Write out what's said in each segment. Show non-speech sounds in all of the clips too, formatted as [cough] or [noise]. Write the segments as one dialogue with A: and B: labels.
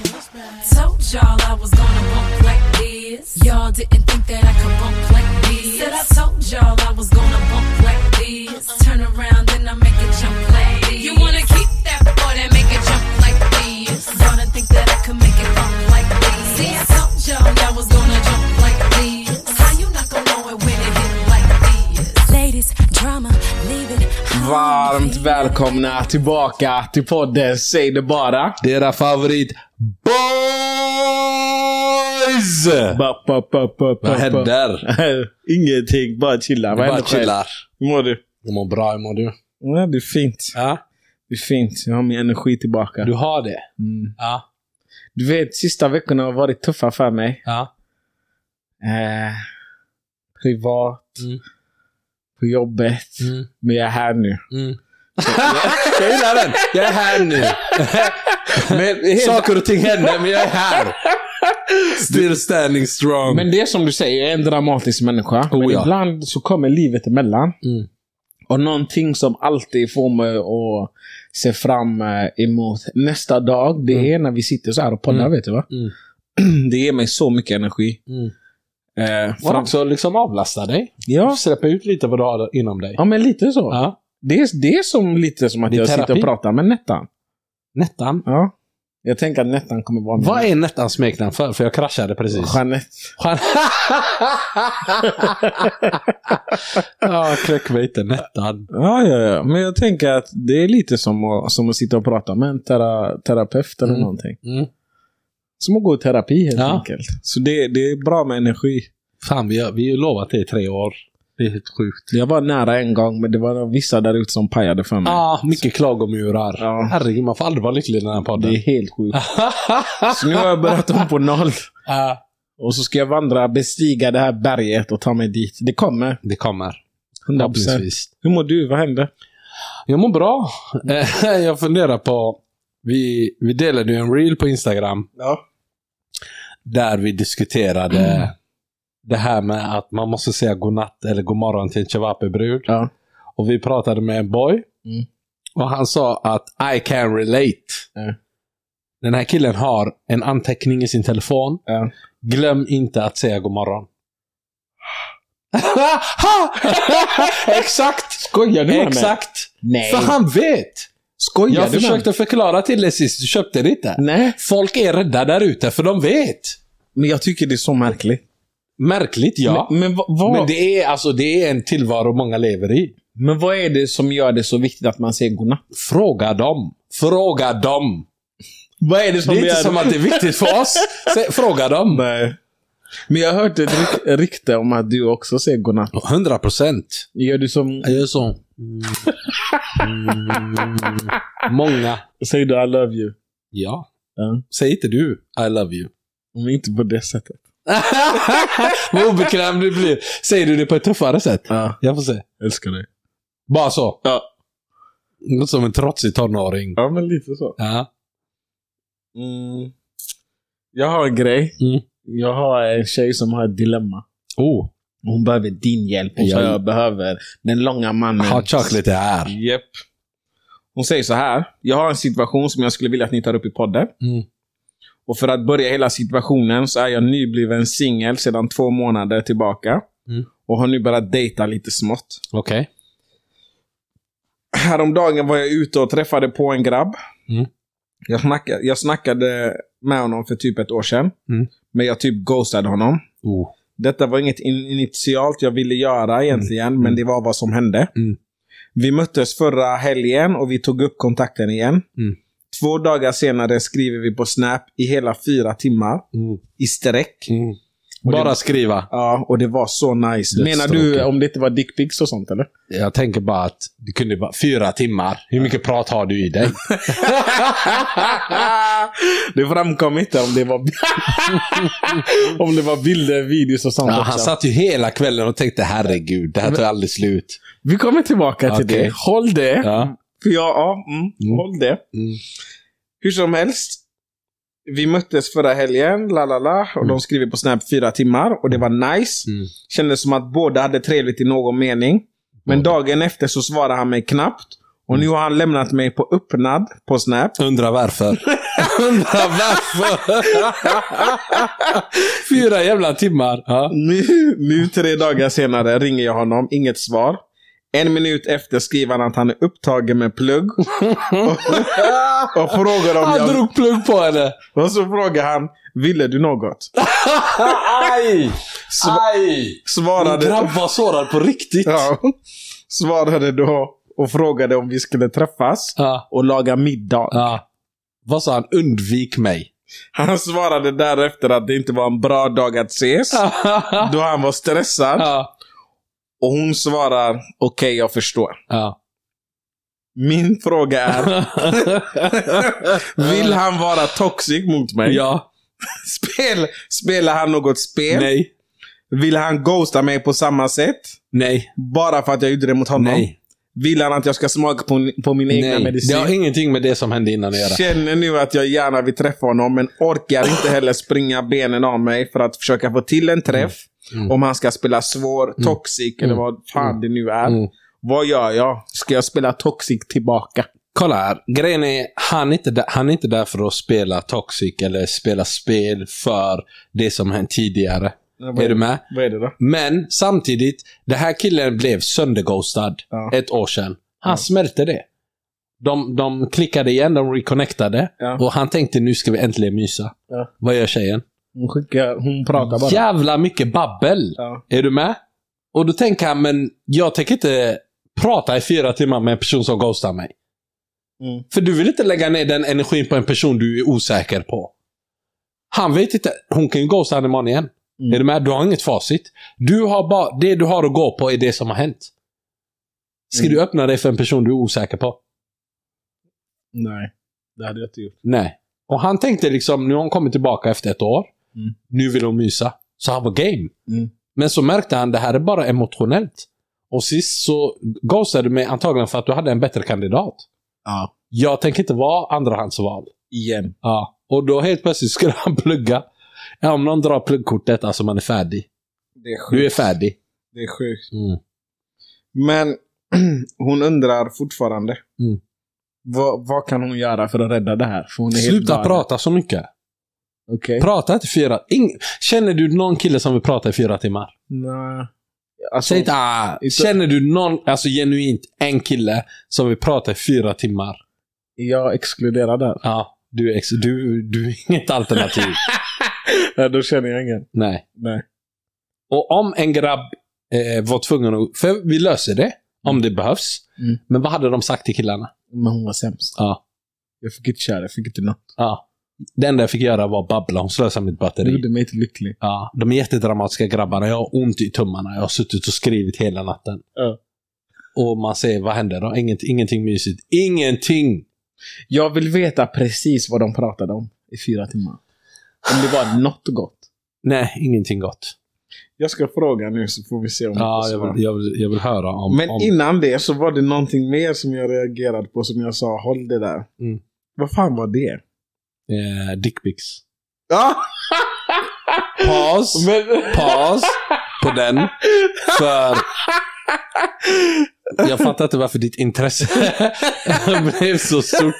A: Told y'all I was gonna bump like this. Y'all didn't think that I could bump like this. Said I told y'all I was gonna bump like this. Turn around and I make it jump like this. You wanna keep that boy and make it jump like this. Y'all didn't think that I could make it bump like this. See, I told y'all I was gonna jump like this. How you not gonna know it when it hit like this? Ladies, drama, leave it.
B: Varmt välkomna tillbaka till podden Säg det bara.
C: Era favorit Boys!
B: Bap, bap, bap, bap,
C: Vad
B: bap.
C: händer?
B: [laughs] Ingenting, bara chilla. Vad
C: Bara
B: händer själv?
C: chillar.
B: Hur mår du?
C: Jag mår bra, hur mår du?
B: Ja, det är fint.
C: Ja?
B: Det är fint. Jag har min energi tillbaka.
C: Du
B: Du,
C: har det?
B: mm.
C: Ja.
B: du vet, sista veckorna har varit tuffa för mig.
C: Ja.
B: Eh, privat,
C: Mm.
B: på jobbet.
C: Mm.
B: Men jag är här nu.
C: Mm. jag gillar den! Jag är här [laughs] nu. men helt... Saker och ting händer, men jag är här. Still standing strong.
B: Men det är som du säger, jag är en dramatisk människa. men
C: Mm. Oh, ja.
B: ibland så kommer livet emellan.
C: Mm.
B: Och någonting som alltid får mig att se fram eh, emot nästa dag, det är när vi sitter så här och poddar,
C: Mm.
B: vet du va?
C: Mm.
B: Mm. Det ger mig så mycket energi.
C: Mm.
B: Eh,
C: Får
B: fram-
C: också liksom avlasta dig.
B: ja.
C: Släppa ut lite vad du har inom dig.
B: ja, men lite så.
C: Ja.
B: Det, är, det är som lite som att
C: Det är
B: jag sitter
C: terapi.
B: och pratar med Nettan.
C: Nettan.
B: Ja. Jag tänker att Nettan kommer vara med.
C: Vad är Nettans smeknamn för? För jag kraschade precis.
B: Jeanette.
C: Han... [laughs] ja, kläckbiten, Nettan.
B: Ja, ja, ja. Men jag tänker att det är lite som att, som att sitta och prata med en tera, terapeut eller
C: Mm.
B: någonting.
C: Mm.
B: Som att gå i terapi helt
C: Ja.
B: enkelt. Så det, det är bra med energi.
C: Fan, vi har, vi har ju lovat det i tre år. Det är helt sjukt.
B: Jag var nära en gång, men det var vissa där ute som pajade för mig.
C: Ja, ah, mycket klagomurar.
B: Ja.
C: Herregud, man får aldrig vara lycklig i den här
B: det
C: podden.
B: är helt sjukt. Så nu har jag börjat om på noll.
C: Ja,
B: Och så ska jag vandra, bestiga det här berget och ta mig dit. Det kommer.
C: det kommer.
B: 100
C: Förhoppningsvis.
B: Hur mår du? Vad hände?
C: Jag mår bra. Eh, [laughs] jag funderar på... Vi, vi delade ju en reel på Instagram
B: Ja.
C: där vi diskuterade det här med att man måste säga godnatt eller god morgon till en cevapebrud.
B: Ja.
C: Och vi pratade med en boy.
B: Mm.
C: Och han sa att I can relate.
B: Ja.
C: Den här killen har en anteckning i sin telefon.
B: Ja.
C: Glöm inte att säga god morgon. [laughs] Exakt!
B: Skojar du med mig?
C: Exakt!
B: Nej.
C: För han vet!
B: Skojar
C: Jag
B: du med mig?
C: försökte förklara till dig sist, du köpte det inte.
B: Nej.
C: Folk är rädda där ute, för de vet.
B: Men jag tycker det är så märkligt.
C: Märkligt, ja.
B: Men, men, vad- vad,
C: Men det är, alltså, det är en tillvaro många lever i.
B: men vad är det som gör det så viktigt att man säger godnatt?
C: Fråga dem. Fråga dem.
B: Vad är det
C: Det är inte som att det är viktigt för [laughs] oss. Sä- Fråga dem.
B: Nej. Men jag har hört ett ryk- [laughs] rykte om att du också säger godnatt.
C: 100 procent.
B: Gör du som...
C: Jag gör så. Många.
B: Säger du I love you?
C: Ja.
B: Ja.
C: Säg inte du I love you.
B: Men inte på det sättet.
C: [laughs] Vad obekväm du blir. Säger du det på ett tuffare sätt?
B: Ja.
C: Jag får se.
B: Älskar dig.
C: Bara så.
B: Ja.
C: Något som en trotsig tonåring.
B: Ja, men lite så.
C: Ja.
B: Mm. Jag har en grej.
C: Mm.
B: Jag har en tjej som har ett dilemma.
C: Oh,
B: Hon behöver din hjälp och
C: Ja.
B: jag behöver den långa mannen.
C: hot chocolate är här.
B: Japp. Hon säger så här. Jag har en situation som jag skulle vilja att ni tar upp i podden.
C: Mm.
B: Och för att börja hela situationen så är jag nybliven singel sedan två månader tillbaka.
C: Mm.
B: Och har nu börjat dejta lite smått.
C: Okej.
B: Häromdagen var jag ute och träffade på en grabb.
C: Mm.
B: Jag, snackade, jag snackade med honom för typ ett år sedan.
C: Mm.
B: Men jag typ ghostade honom.
C: Oh.
B: Detta var inget in- initialt jag ville göra egentligen, men det var vad som hände.
C: Mm.
B: Vi möttes förra helgen och vi tog upp kontakten igen.
C: Mm.
B: Två dagar senare skriver vi på Snap i hela fyra timmar
C: Mm.
B: i sträck.
C: Mm. Bara skriva.
B: Ja, och det var så nice. Menar du
C: Dödstråkigt.
B: om det inte var dickpics och sånt eller?
C: Jag tänker bara att det kunde vara fyra timmar. Hur mycket prat har du i dig?
B: det framkom inte om det var,
C: [laughs]
B: om det var bilder, videos och sånt
C: Ja, han
B: också.
C: satt ju hela kvällen och tänkte herregud, det här tar aldrig slut.
B: Vi kommer tillbaka till
C: Okej.
B: det. Håll det.
C: Ja.
B: För jag, ja, mm,
C: Mm.
B: håll det.
C: Mm.
B: Hur som helst. Vi möttes förra helgen, la la la, och de skrev på Snap fyra timmar och det var nice.
C: Mm.
B: Kändes som att båda hade trevligt i någon mening. Men
C: Båda.
B: dagen efter
C: Mm.
B: så svarade han mig knappt. Och nu har han lämnat mig på öppnad på Snap.
C: Undrar varför. [laughs] Undrar varför. [laughs] Fyra jävla timmar. Ja.
B: Nu, nu tre dagar senare ringer jag honom, inget svar. En minut efter skriver han att han är upptagen med plugg.
C: [laughs]
B: Och, och frågar om
C: Han
B: jag...
C: drog plugg på henne.
B: Och så frågar han, ville du något?
C: Aj! Aj! Min
B: Svarade...
C: grabb var sårad på riktigt.
B: Ja. Svarade då och frågade om vi skulle träffas
C: Ja.
B: och laga middag.
C: Ja. Vad sa han? Undvik [laughs] mig.
B: Han svarade därefter att det inte var en bra dag att ses.
C: ja.
B: Då han var stressad. Och hon svarar, okej jag förstår.
C: ja.
B: Min fråga är, vill han vara toxic mot mig?
C: ja.
B: Spel, spelar han något spel?
C: Nej.
B: Vill han ghosta mig på samma sätt?
C: Nej.
B: Bara för att jag gjorde det mot honom?
C: Nej.
B: Vill han att jag ska smaka på, på min egna
C: Nej. Det
B: medicin?
C: har ingenting med det som hände innan att göra.
B: Känner nu att jag gärna vill träffa honom men orkar inte heller springa benen av mig för att försöka få till en träff.
C: Mm.
B: Om han ska spela svår, toxic eller
C: Mm.
B: vad fan det nu är.
C: Mm.
B: Vad gör jag? Ska jag spela toxic tillbaka?
C: Kolla här. Grejen är, han är, inte där, han är inte där för att spela toxic eller spela spel för det som hänt tidigare. Är du med?
B: Vad är det då?
C: Men samtidigt, den här killen blev sönderghostad
B: Ja.
C: ett år sedan. Han
B: Ja.
C: smälte det. De, de klickade igen, de reconnectade
B: Ja.
C: och han tänkte nu ska vi äntligen mysa.
B: Ja.
C: Vad gör tjejen?
B: Hon, skickar, hon pratar bara.
C: Jävla mycket babbel!
B: Ja.
C: Är du med? Och då tänker han, men jag tänker inte prata i fyra timmar med en person som ghostar mig.
B: Mm.
C: För du vill inte lägga ner den energin på en person du är osäker på. Han vet inte. Hon kan ju ghosta honom imorgon igen.
B: Mm.
C: Är du med? Du har inget facit. Du har bara, det du har att gå på är det som har hänt. Ska
B: Mm.
C: du öppna dig för en person du är osäker på?
B: Nej, det hade jag inte gjort.
C: Nej. Och han tänkte liksom, nu har hon kommit tillbaka efter ett år.
B: Mm.
C: Nu vill hon mysa. Så han var game.
B: Mm.
C: Men så märkte han, det här är bara emotionellt. Och sist så ghostade du mig antagligen för att du hade en bättre kandidat.
B: Ja.
C: Jag tänker inte vara andrahandsval.
B: Igen.
C: Ja. Och då helt plötsligt skulle han plugga. Ja, om någon drar pluggkortet, alltså man är färdig.
B: Det är sjukt.
C: Du är färdig.
B: Det är sjukt.
C: Mm.
B: Men [clears throat] hon undrar fortfarande.
C: Mm.
B: Vad, vad kan hon göra för att rädda det här? För hon är helt
C: Sluta
B: galen.
C: prata så mycket.
B: Okej.
C: Prata inte fyra... Ing... Känner du någon kille som vill prata i fyra timmar?
B: Nej. Alltså,
C: Säg inte ah.
B: inte-
C: Känner du någon, alltså genuint, en kille som vill prata i fyra timmar?
B: jag exkluderar där.
C: Ja, du är, ex... du, du är
B: [laughs]
C: inget alternativ.
B: Ja, då känner jag ingen.
C: Nej.
B: Nej.
C: Och om en grabb eh, var tvungen att... För vi löser det, om det behövs.
B: Mm.
C: Men vad hade de sagt till killarna?
B: Men hon var sämst.
C: Ja.
B: Jag fick inte köra, jag fick inte något.
C: ja. Det enda jag fick göra var babbla. Hon slösade
B: Det
C: mitt batteri.
B: gjorde mig inte lycklig.
C: Ja, de är jättedramatiska grabbarna. Jag har ont i tummarna. Jag har suttit och skrivit hela natten.
B: Ja.
C: Och man säger, vad händer då? Inget, ingenting mysigt. Ingenting!
B: Jag vill veta precis vad de pratade om i fyra timmar. Om det var något gott.
C: Nej, ingenting gott.
B: Jag ska fråga nu så får vi se om jag
C: Ja,
B: får
C: jag
B: svar.
C: vill, jag vill, jag vill höra om...
B: Alltså, Men
C: om...
B: innan det så var det någonting mer som jag reagerade på som jag sa, håll det där.
C: Mm.
B: Vad fan var det?
C: Eh, Dickpics.
B: Ja,
C: Paus,
B: men...
C: paus på den.
B: [laughs]
C: För... Jag fattar inte varför ditt intresse [laughs] blev så stort.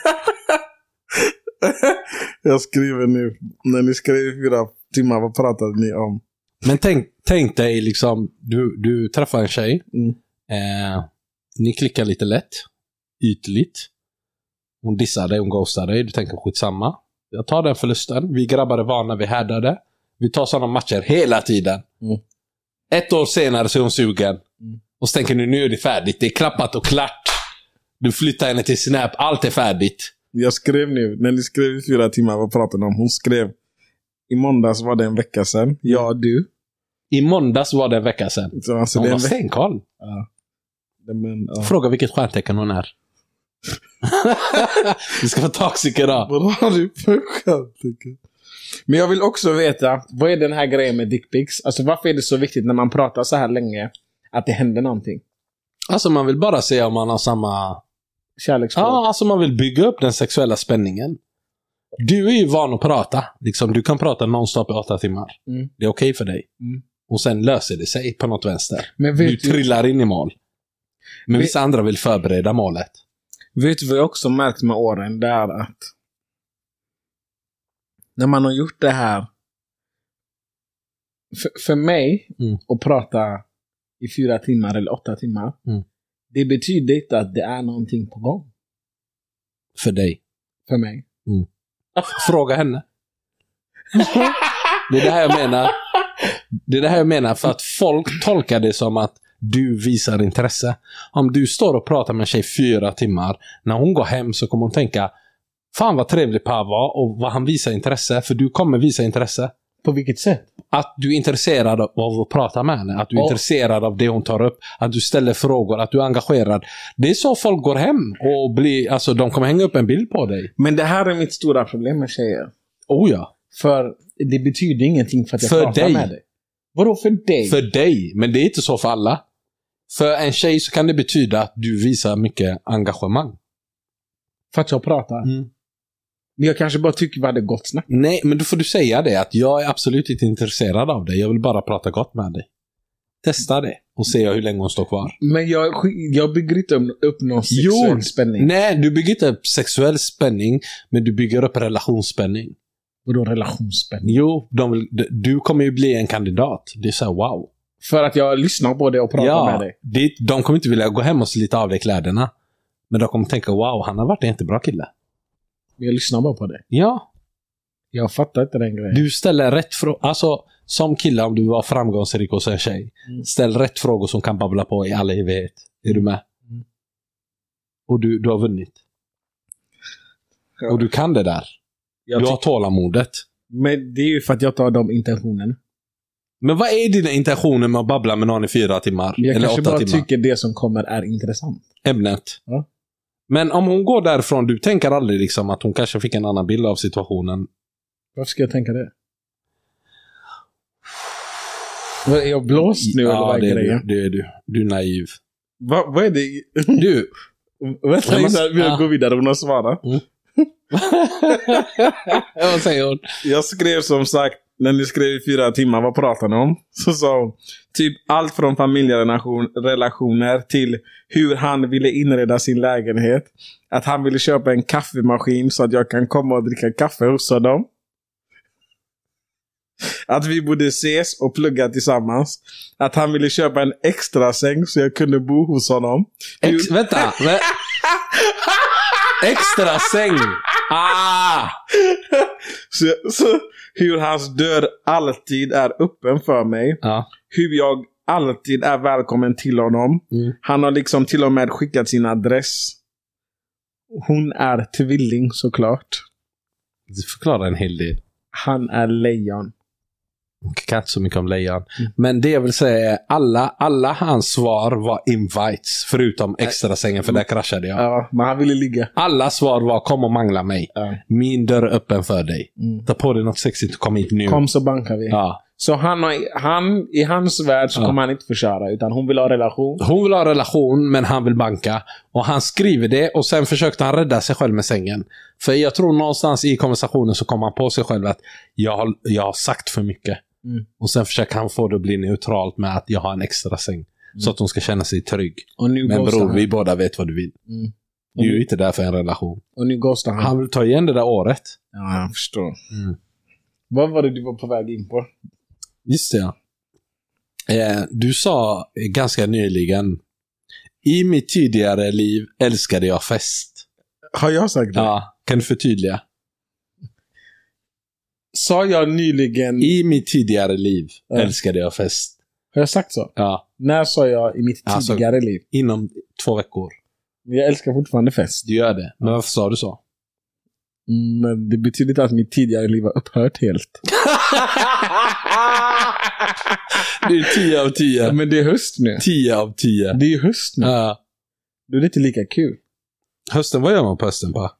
B: Jag skriver nu, när ni skrev i fyra timmar, vad pratade ni om?
C: Men tänk, tänk dig liksom, du, du träffar en tjej.
B: Mm.
C: Eh, ni klickar lite lätt, ytligt. Hon dissar dig, hon ghostar dig. Du tänker skitsamma. Jag tar den förlusten. Vi grabbar är vana, vi härdar det. Vi tar sådana matcher hela tiden.
B: Mm.
C: Ett år senare så är hon sugen.
B: Mm.
C: Och så tänker du, nu är det färdigt. Det är klappat och klart. Du flyttar henne till Snap. Allt är färdigt.
B: Jag skrev nu, när ni skrev i fyra timmar, vad pratade ni om? Hon skrev, i måndags var det en vecka sedan, ja du.
C: I måndags var det en vecka sedan.
B: Så alltså, det
C: hon
B: är
C: har
B: en vecka,
C: stenkoll.
B: men ja.
C: Fråga vilket stjärntecken hon är. [laughs] du ska vara toxic idag.
B: Vad har du för skämt? tycker jag? Men jag vill också veta, vad är den här grejen med dickpics? Alltså varför är det så viktigt när man pratar så här länge att det händer någonting?
C: Alltså man vill bara se om man har samma... Ja,
B: Kärleksspråk.
C: alltså man vill bygga upp den sexuella spänningen. Du är ju van att prata. Liksom, du kan prata nonstop i åtta timmar.
B: Mm.
C: Det är okej för dig.
B: Mm.
C: Och sen löser det sig på något vänster.
B: Men
C: Du
B: vet du,
C: trillar in i mål. Men
B: Vet-
C: vissa andra vill förbereda målet.
B: vet du vad jag också märkt med åren? Det är att när man har gjort det här. För, för mig,
C: Mm.
B: att prata i fyra timmar eller åtta timmar,
C: Mm.
B: det betyder inte att det är någonting på gång
C: För dig.
B: för mig.
C: Fråga henne. Det är det här jag menar. Det är det här jag menar, för att folk tolkar det som att du visar intresse. Om du står och pratar med en tjej fyra timmar, när hon går hem så kommer hon tänka Fan vad trevlig Per var och vad han visar intresse, för du kommer visa intresse.
B: På vilket sätt?
C: Att du är intresserad av av att prata med henne, att du är
B: Ja.
C: intresserad av det hon tar upp, att du ställer frågor, att du är engagerad. Det är så folk går hem och blir, alltså de kommer hänga upp en bild på dig.
B: Men det här är mitt stora problem med tjejer.
C: Oh ja.
B: För det betyder ingenting för att jag
C: För
B: pratar
C: dig.
B: med dig. Vadå för dig?
C: För dig, men det är inte så för alla. För en tjej så kan det betyda att du visar mycket engagemang.
B: För att jag pratar. Men jag kanske bara tycker vi hade gott snack.
C: Nej, men då får du säga det att jag är absolut inte intresserad av dig. Jag vill bara prata gott med dig. Testa det och se hur länge hon står kvar.
B: Men jag, sk- jag bygger inte upp- upp någon
C: Jo.
B: sexuell spänning.
C: Nej, du bygger inte upp sexuell spänning, men du bygger upp relationsspänning.
B: Vadå relationsspänning?
C: Jo, de vill, d- du kommer ju bli en kandidat. Det är så här, wow.
B: För att jag lyssnar på dig och pratar med dig.
C: det, de kommer inte vilja gå hem och slita av dig kläderna. Men de kommer tänka, wow, han har varit en jättebra kille.
B: Men Jag lyssnar bara på dig.
C: Ja,
B: Jag fattar inte den grejen.
C: Du ställer rätt frågor. Alltså, som kille, om du var framgångsrik och så är tjej.
B: Mm.
C: Ställ rätt frågor som kan babbla på i all evighet. Är du med?
B: Mm.
C: Och du, du har vunnit.
B: Ja.
C: Och du kan det där.
B: Jag
C: du har tålamodet.
B: Men det är ju för att jag tar de intentionerna.
C: Men vad är dina intentioner med att babbla med någon i fyra timmar?
B: Men Jag
C: eller
B: kanske
C: åtta
B: bara
C: timmar?
B: tycker det som kommer är intressant.
C: Ämnet.
B: Ja.
C: Men om hon går därifrån, du tänker aldrig liksom att hon kanske fick en annan bild av situationen?
B: Varför ska jag tänka det? Vad, Är jag blåst nu eller
C: ja,
B: vad
C: det
B: är
C: är du.
B: grejen?
C: Det är du. Du är naiv.
B: Va, vad är det? [laughs]
C: Du,
B: Vänta
C: Jag måste-
B: innan vi
C: Ja.
B: går vidare, hon har svarat.
C: vad säger hon?
B: Jag skrev som sagt, när ni skrev i fyra timmar, vad pratar ni om? Så sa hon, typ allt från familjerelationer till hur han ville inreda sin lägenhet. Att han ville köpa en kaffemaskin så att jag kan komma och dricka kaffe hos honom. Att vi borde ses och plugga tillsammans. Att han ville köpa en extra säng så jag kunde bo hos honom.
C: Ex- vänta! vä- Extra säng! Ah!
B: Så, så, hur hans dörr alltid är öppen för mig.
C: Ja.
B: hur jag alltid är välkommen till honom.
C: Mm.
B: Han har liksom till och med skickat sin adress. Hon är tvilling såklart.
C: Det förklarar en hel del.
B: Han är lejon.
C: Jag kan inte så mycket om lejon. Men det jag vill säga är alla, alla hans svar var invites. Förutom extra sängen för där kraschade jag.
B: Ja, men han ville ligga.
C: Alla svar var kom och mangla mig.
B: Ja.
C: Min dörr är öppen för dig.
B: Mm.
C: Ta på dig något sexigt och kom hit nu.
B: Kom så bankar vi.
C: Ja.
B: Så han, har, han, i hans värld så
C: Ja.
B: kommer han inte få köra, utan hon vill ha relation.
C: Hon vill ha en relation, men han vill banka. Och han skriver det och sen försökte han rädda sig själv med sängen. För jag tror någonstans i konversationen så kom han på sig själv att jag har, jag har sagt för mycket.
B: Mm.
C: Och sen försöker han få det att bli neutralt med att jag har en extra säng. Så att hon ska känna sig trygg.
B: Och nu
C: Men
B: ghostar
C: bror,
B: han.
C: vi båda vet vad du vill.
B: Mm.
C: Du är ju inte där för en relation.
B: Och nu ghostar han.
C: Han vill ta igen det där året.
B: Ja, jag förstår.
C: Mm.
B: Vad var det du var på väg in på?
C: Just det. Eh, du sa eh, ganska nyligen. I mitt tidigare liv älskade jag fest.
B: Har jag sagt det?
C: Ja, kan du förtydliga?
B: Sa jag nyligen...
C: I mitt tidigare liv
B: Ja.
C: älskade jag fest.
B: Har jag sagt så?
C: Ja,
B: När sa jag i mitt
C: Alltså-
B: tidigare liv?
C: inom två veckor.
B: Men Jag älskar fortfarande fest.
C: Du gör det. Men varför sa
B: [laughs]
C: du så?
B: Mm, Men det betyder inte att mitt tidigare liv har upphört helt.
C: Du är 10 av 10.
B: Men det är höst nu.
C: 10 av 10.
B: Det är ju höst nu.
C: Ja.
B: Då är det inte lika kul.
C: hösten, vad gör man på hösten? Pa?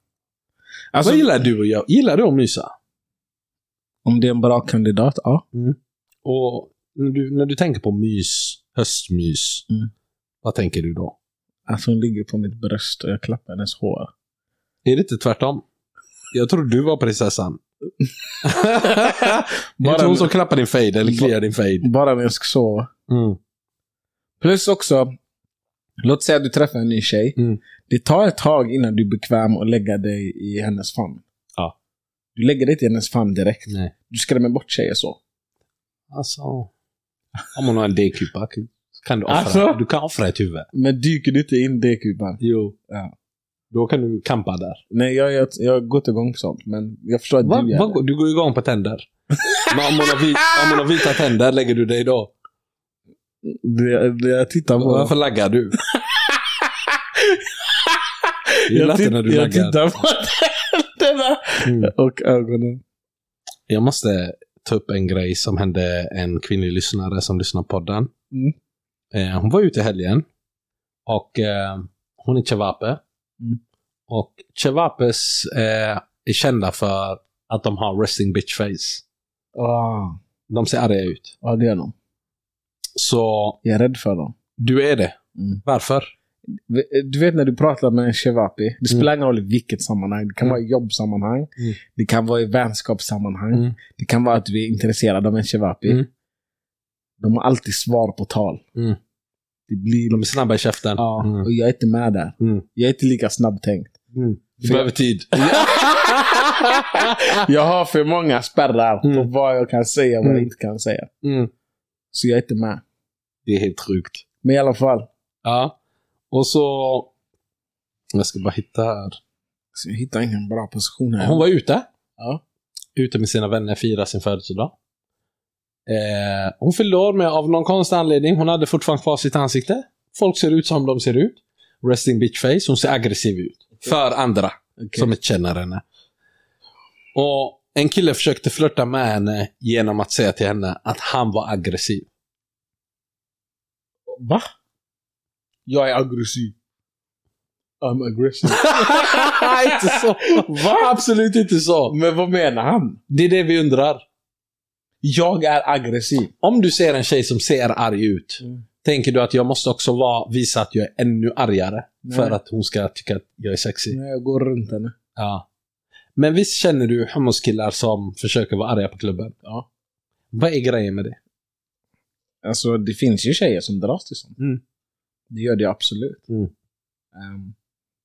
B: Alltså,
C: vad gillar du att göra? Gillar du att mysa?
B: om det är en bra kandidat, ja.
C: Och när du, när du tänker på mys, höstmys,
B: Mm.
C: vad tänker du då?
B: Alltså hon ligger på mitt bröst och jag klappar hennes hår.
C: Är det inte tvärtom? Jag tror du var prinsessan. [laughs] Bara
B: Bara-
C: inte hon som klappar din fade eller kliar din fade.
B: Bara när jag ska sova.
C: Mm.
B: Plus också, låt säga att du träffar en ny tjej.
C: Mm.
B: Det tar ett tag innan du är bekväm att lägga dig i hennes famn.
C: Ja.
B: Du lägger dig inte i hennes famn direkt.
C: Nej.
B: Du skrämmer bort tjejer så.
C: Alltså. Om hon har en D-kupa kan- kan du offra,
B: Alltså?
C: du kan offra ett huvud.
B: Men dyker du inte in det kuban?
C: Jo.
B: Ja.
C: Då kan du kampa där.
B: Nej, jag, jag, jag har gått igång på sånt. Men jag förstår att
C: Va,
B: du gör
C: va,
B: det.
C: du går igång på tänder. [laughs] Men om hon, har vit, om hon har vita tänder, lägger du dig då?
B: det. det Jag tittar på.
C: Varför laggar du? [laughs] Jag gillar
B: jag,
C: inte
B: titt,
C: när du
B: jag
C: laggar.
B: tittar på tänderna
C: Mm.
B: och ögonen.
C: Jag måste ta upp en grej som hände en kvinnlig lyssnare som lyssnar på podden.
B: Mm.
C: Eh, hon var ute i helgen och eh, hon är Chewape.
B: Mm.
C: Och Chewapes eh, är kända för att de har resting bitch face.
B: Ah,
C: De ser arga ut.
B: ja, det är de.
C: Så
B: Jag är rädd för dem.
C: du är det.
B: Mm.
C: Varför?
B: V- Du vet när du pratar med en shevapi, det spelar ingen roll i vilket sammanhang. Det kan
C: Mm.
B: vara i jobbsammanhang, det kan vara i vänskapssammanhang,
C: Mm.
B: det kan vara att du är intresserad av en shevapi.
C: Mm.
B: De har alltid svar på tal.
C: Mm.
B: Det blir...
C: De är snabba i käften.
B: Ja,
C: Mm.
B: och jag är inte med där.
C: Mm.
B: Jag är inte lika snabbtänkt.
C: Mm. Du
B: För-
C: behöver tid.
B: Jag har för många spärrar
C: Mm.
B: på vad jag kan säga och vad jag
C: Mm.
B: inte kan säga.
C: Mm.
B: Så jag är inte med.
C: Det är helt sjukt.
B: Men i alla fall,
C: Ja. Och så... Jag ska bara hitta här.
B: så jag hittar ingen bra position här.
C: Hon var ute.
B: Ja.
C: Ute med sina vänner, firade sin födelsedag. Eh, hon fyllde år, men av någon konstig anledning, hon hade fortfarande kvar sitt ansikte. Folk ser ut som de ser ut. Resting bitch face. Hon ser aggressiv ut. För andra
B: Okej.
C: som inte känner henne. Och en kille försökte flirta med henne genom att säga till henne att han var aggressiv.
B: Va? Jag är aggressiv. I'm aggressive.
C: [laughs] inte så. Absolut inte så.
B: Men vad menar han?
C: Det är det vi undrar.
B: Jag är aggressiv.
C: Om du ser en tjej som ser arg ut,
B: Mm.
C: tänker du att jag måste också vara, visa att jag är ännu argare
B: Nej.
C: för att hon ska tycka att jag är sexig?
B: Nej, jag går runt henne.
C: Ja. Men visst känner du homoskillar som försöker vara arga på klubben?
B: Ja.
C: Vad är grejen med det?
B: Alltså, det finns ju tjejer som dras till sånt.
C: Mm.
B: Det gör det absolut.
C: Mm.
B: Ehm,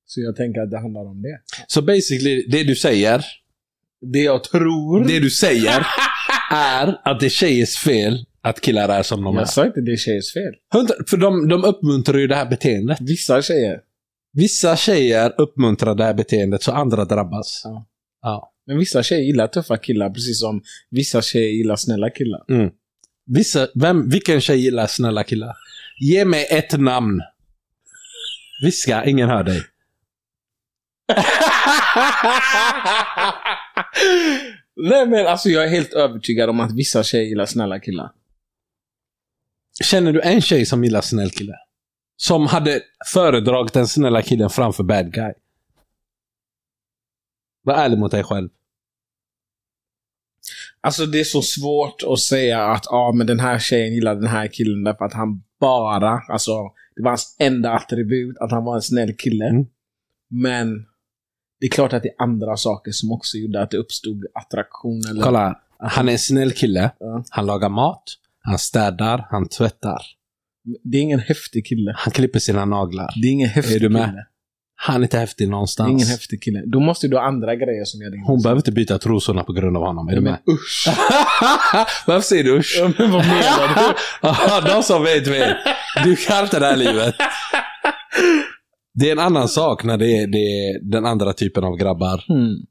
B: så jag tänker att det handlar om det.
C: Så basically, det du säger,
B: Det jag tror.
C: det
B: [laughs]
C: du säger är att det är tjejers fel att killar är som de är.
B: jag sa inte det är tjejers fel.
C: Hundra- För de, de uppmuntrar ju det här beteendet.
B: Vissa tjejer.
C: Vissa tjejer uppmuntrar det här beteendet så andra drabbas.
B: Ja.
C: Ja.
B: Men vissa tjejer gillar tuffa killar precis som vissa tjejer gillar snälla killar.
C: Vissa, vem, vilken tjej gillar snälla killar? Ge mig ett namn. Viska, ingen hör dig.
B: [laughs] Nej men alltså jag är helt övertygad om att vissa tjejer gillar snälla killar.
C: Känner du en tjej som gillar snäll kille? Som hade föredragit den snälla killen framför bad guy. Var ärlig mot dig själv.
B: Alltså det är så svårt att säga att ah, men den här tjejen gillar den här killen därför att han bara, alltså det var hans enda attribut att han var en snäll kille.
C: Mm.
B: Men det är klart att det är andra saker som också gjorde att det uppstod attraktion. Eller...
C: Kolla här. Han är en snäll kille.
B: Ja.
C: Han lagar mat. Han städar. Han tvättar.
B: Det är ingen häftig kille.
C: Han klipper sina naglar.
B: Det är ingen häftig
C: Är du med?
B: kille.
C: Han är inte häftig
B: Det är
C: någonstans.
B: ingen häftig kille. Då måste du ha andra grejer som gör dig
C: Hon behöver inte byta trosorna på grund av honom. Är du
B: Men
C: med?
B: usch!
C: [laughs] Varför säger du usch?
B: Ja, men vad menar du?
C: [laughs] Aha, De som vet vet. Du kan inte det här livet. Det är en annan sak när det är, det är den andra typen av grabbar.
B: Hmm.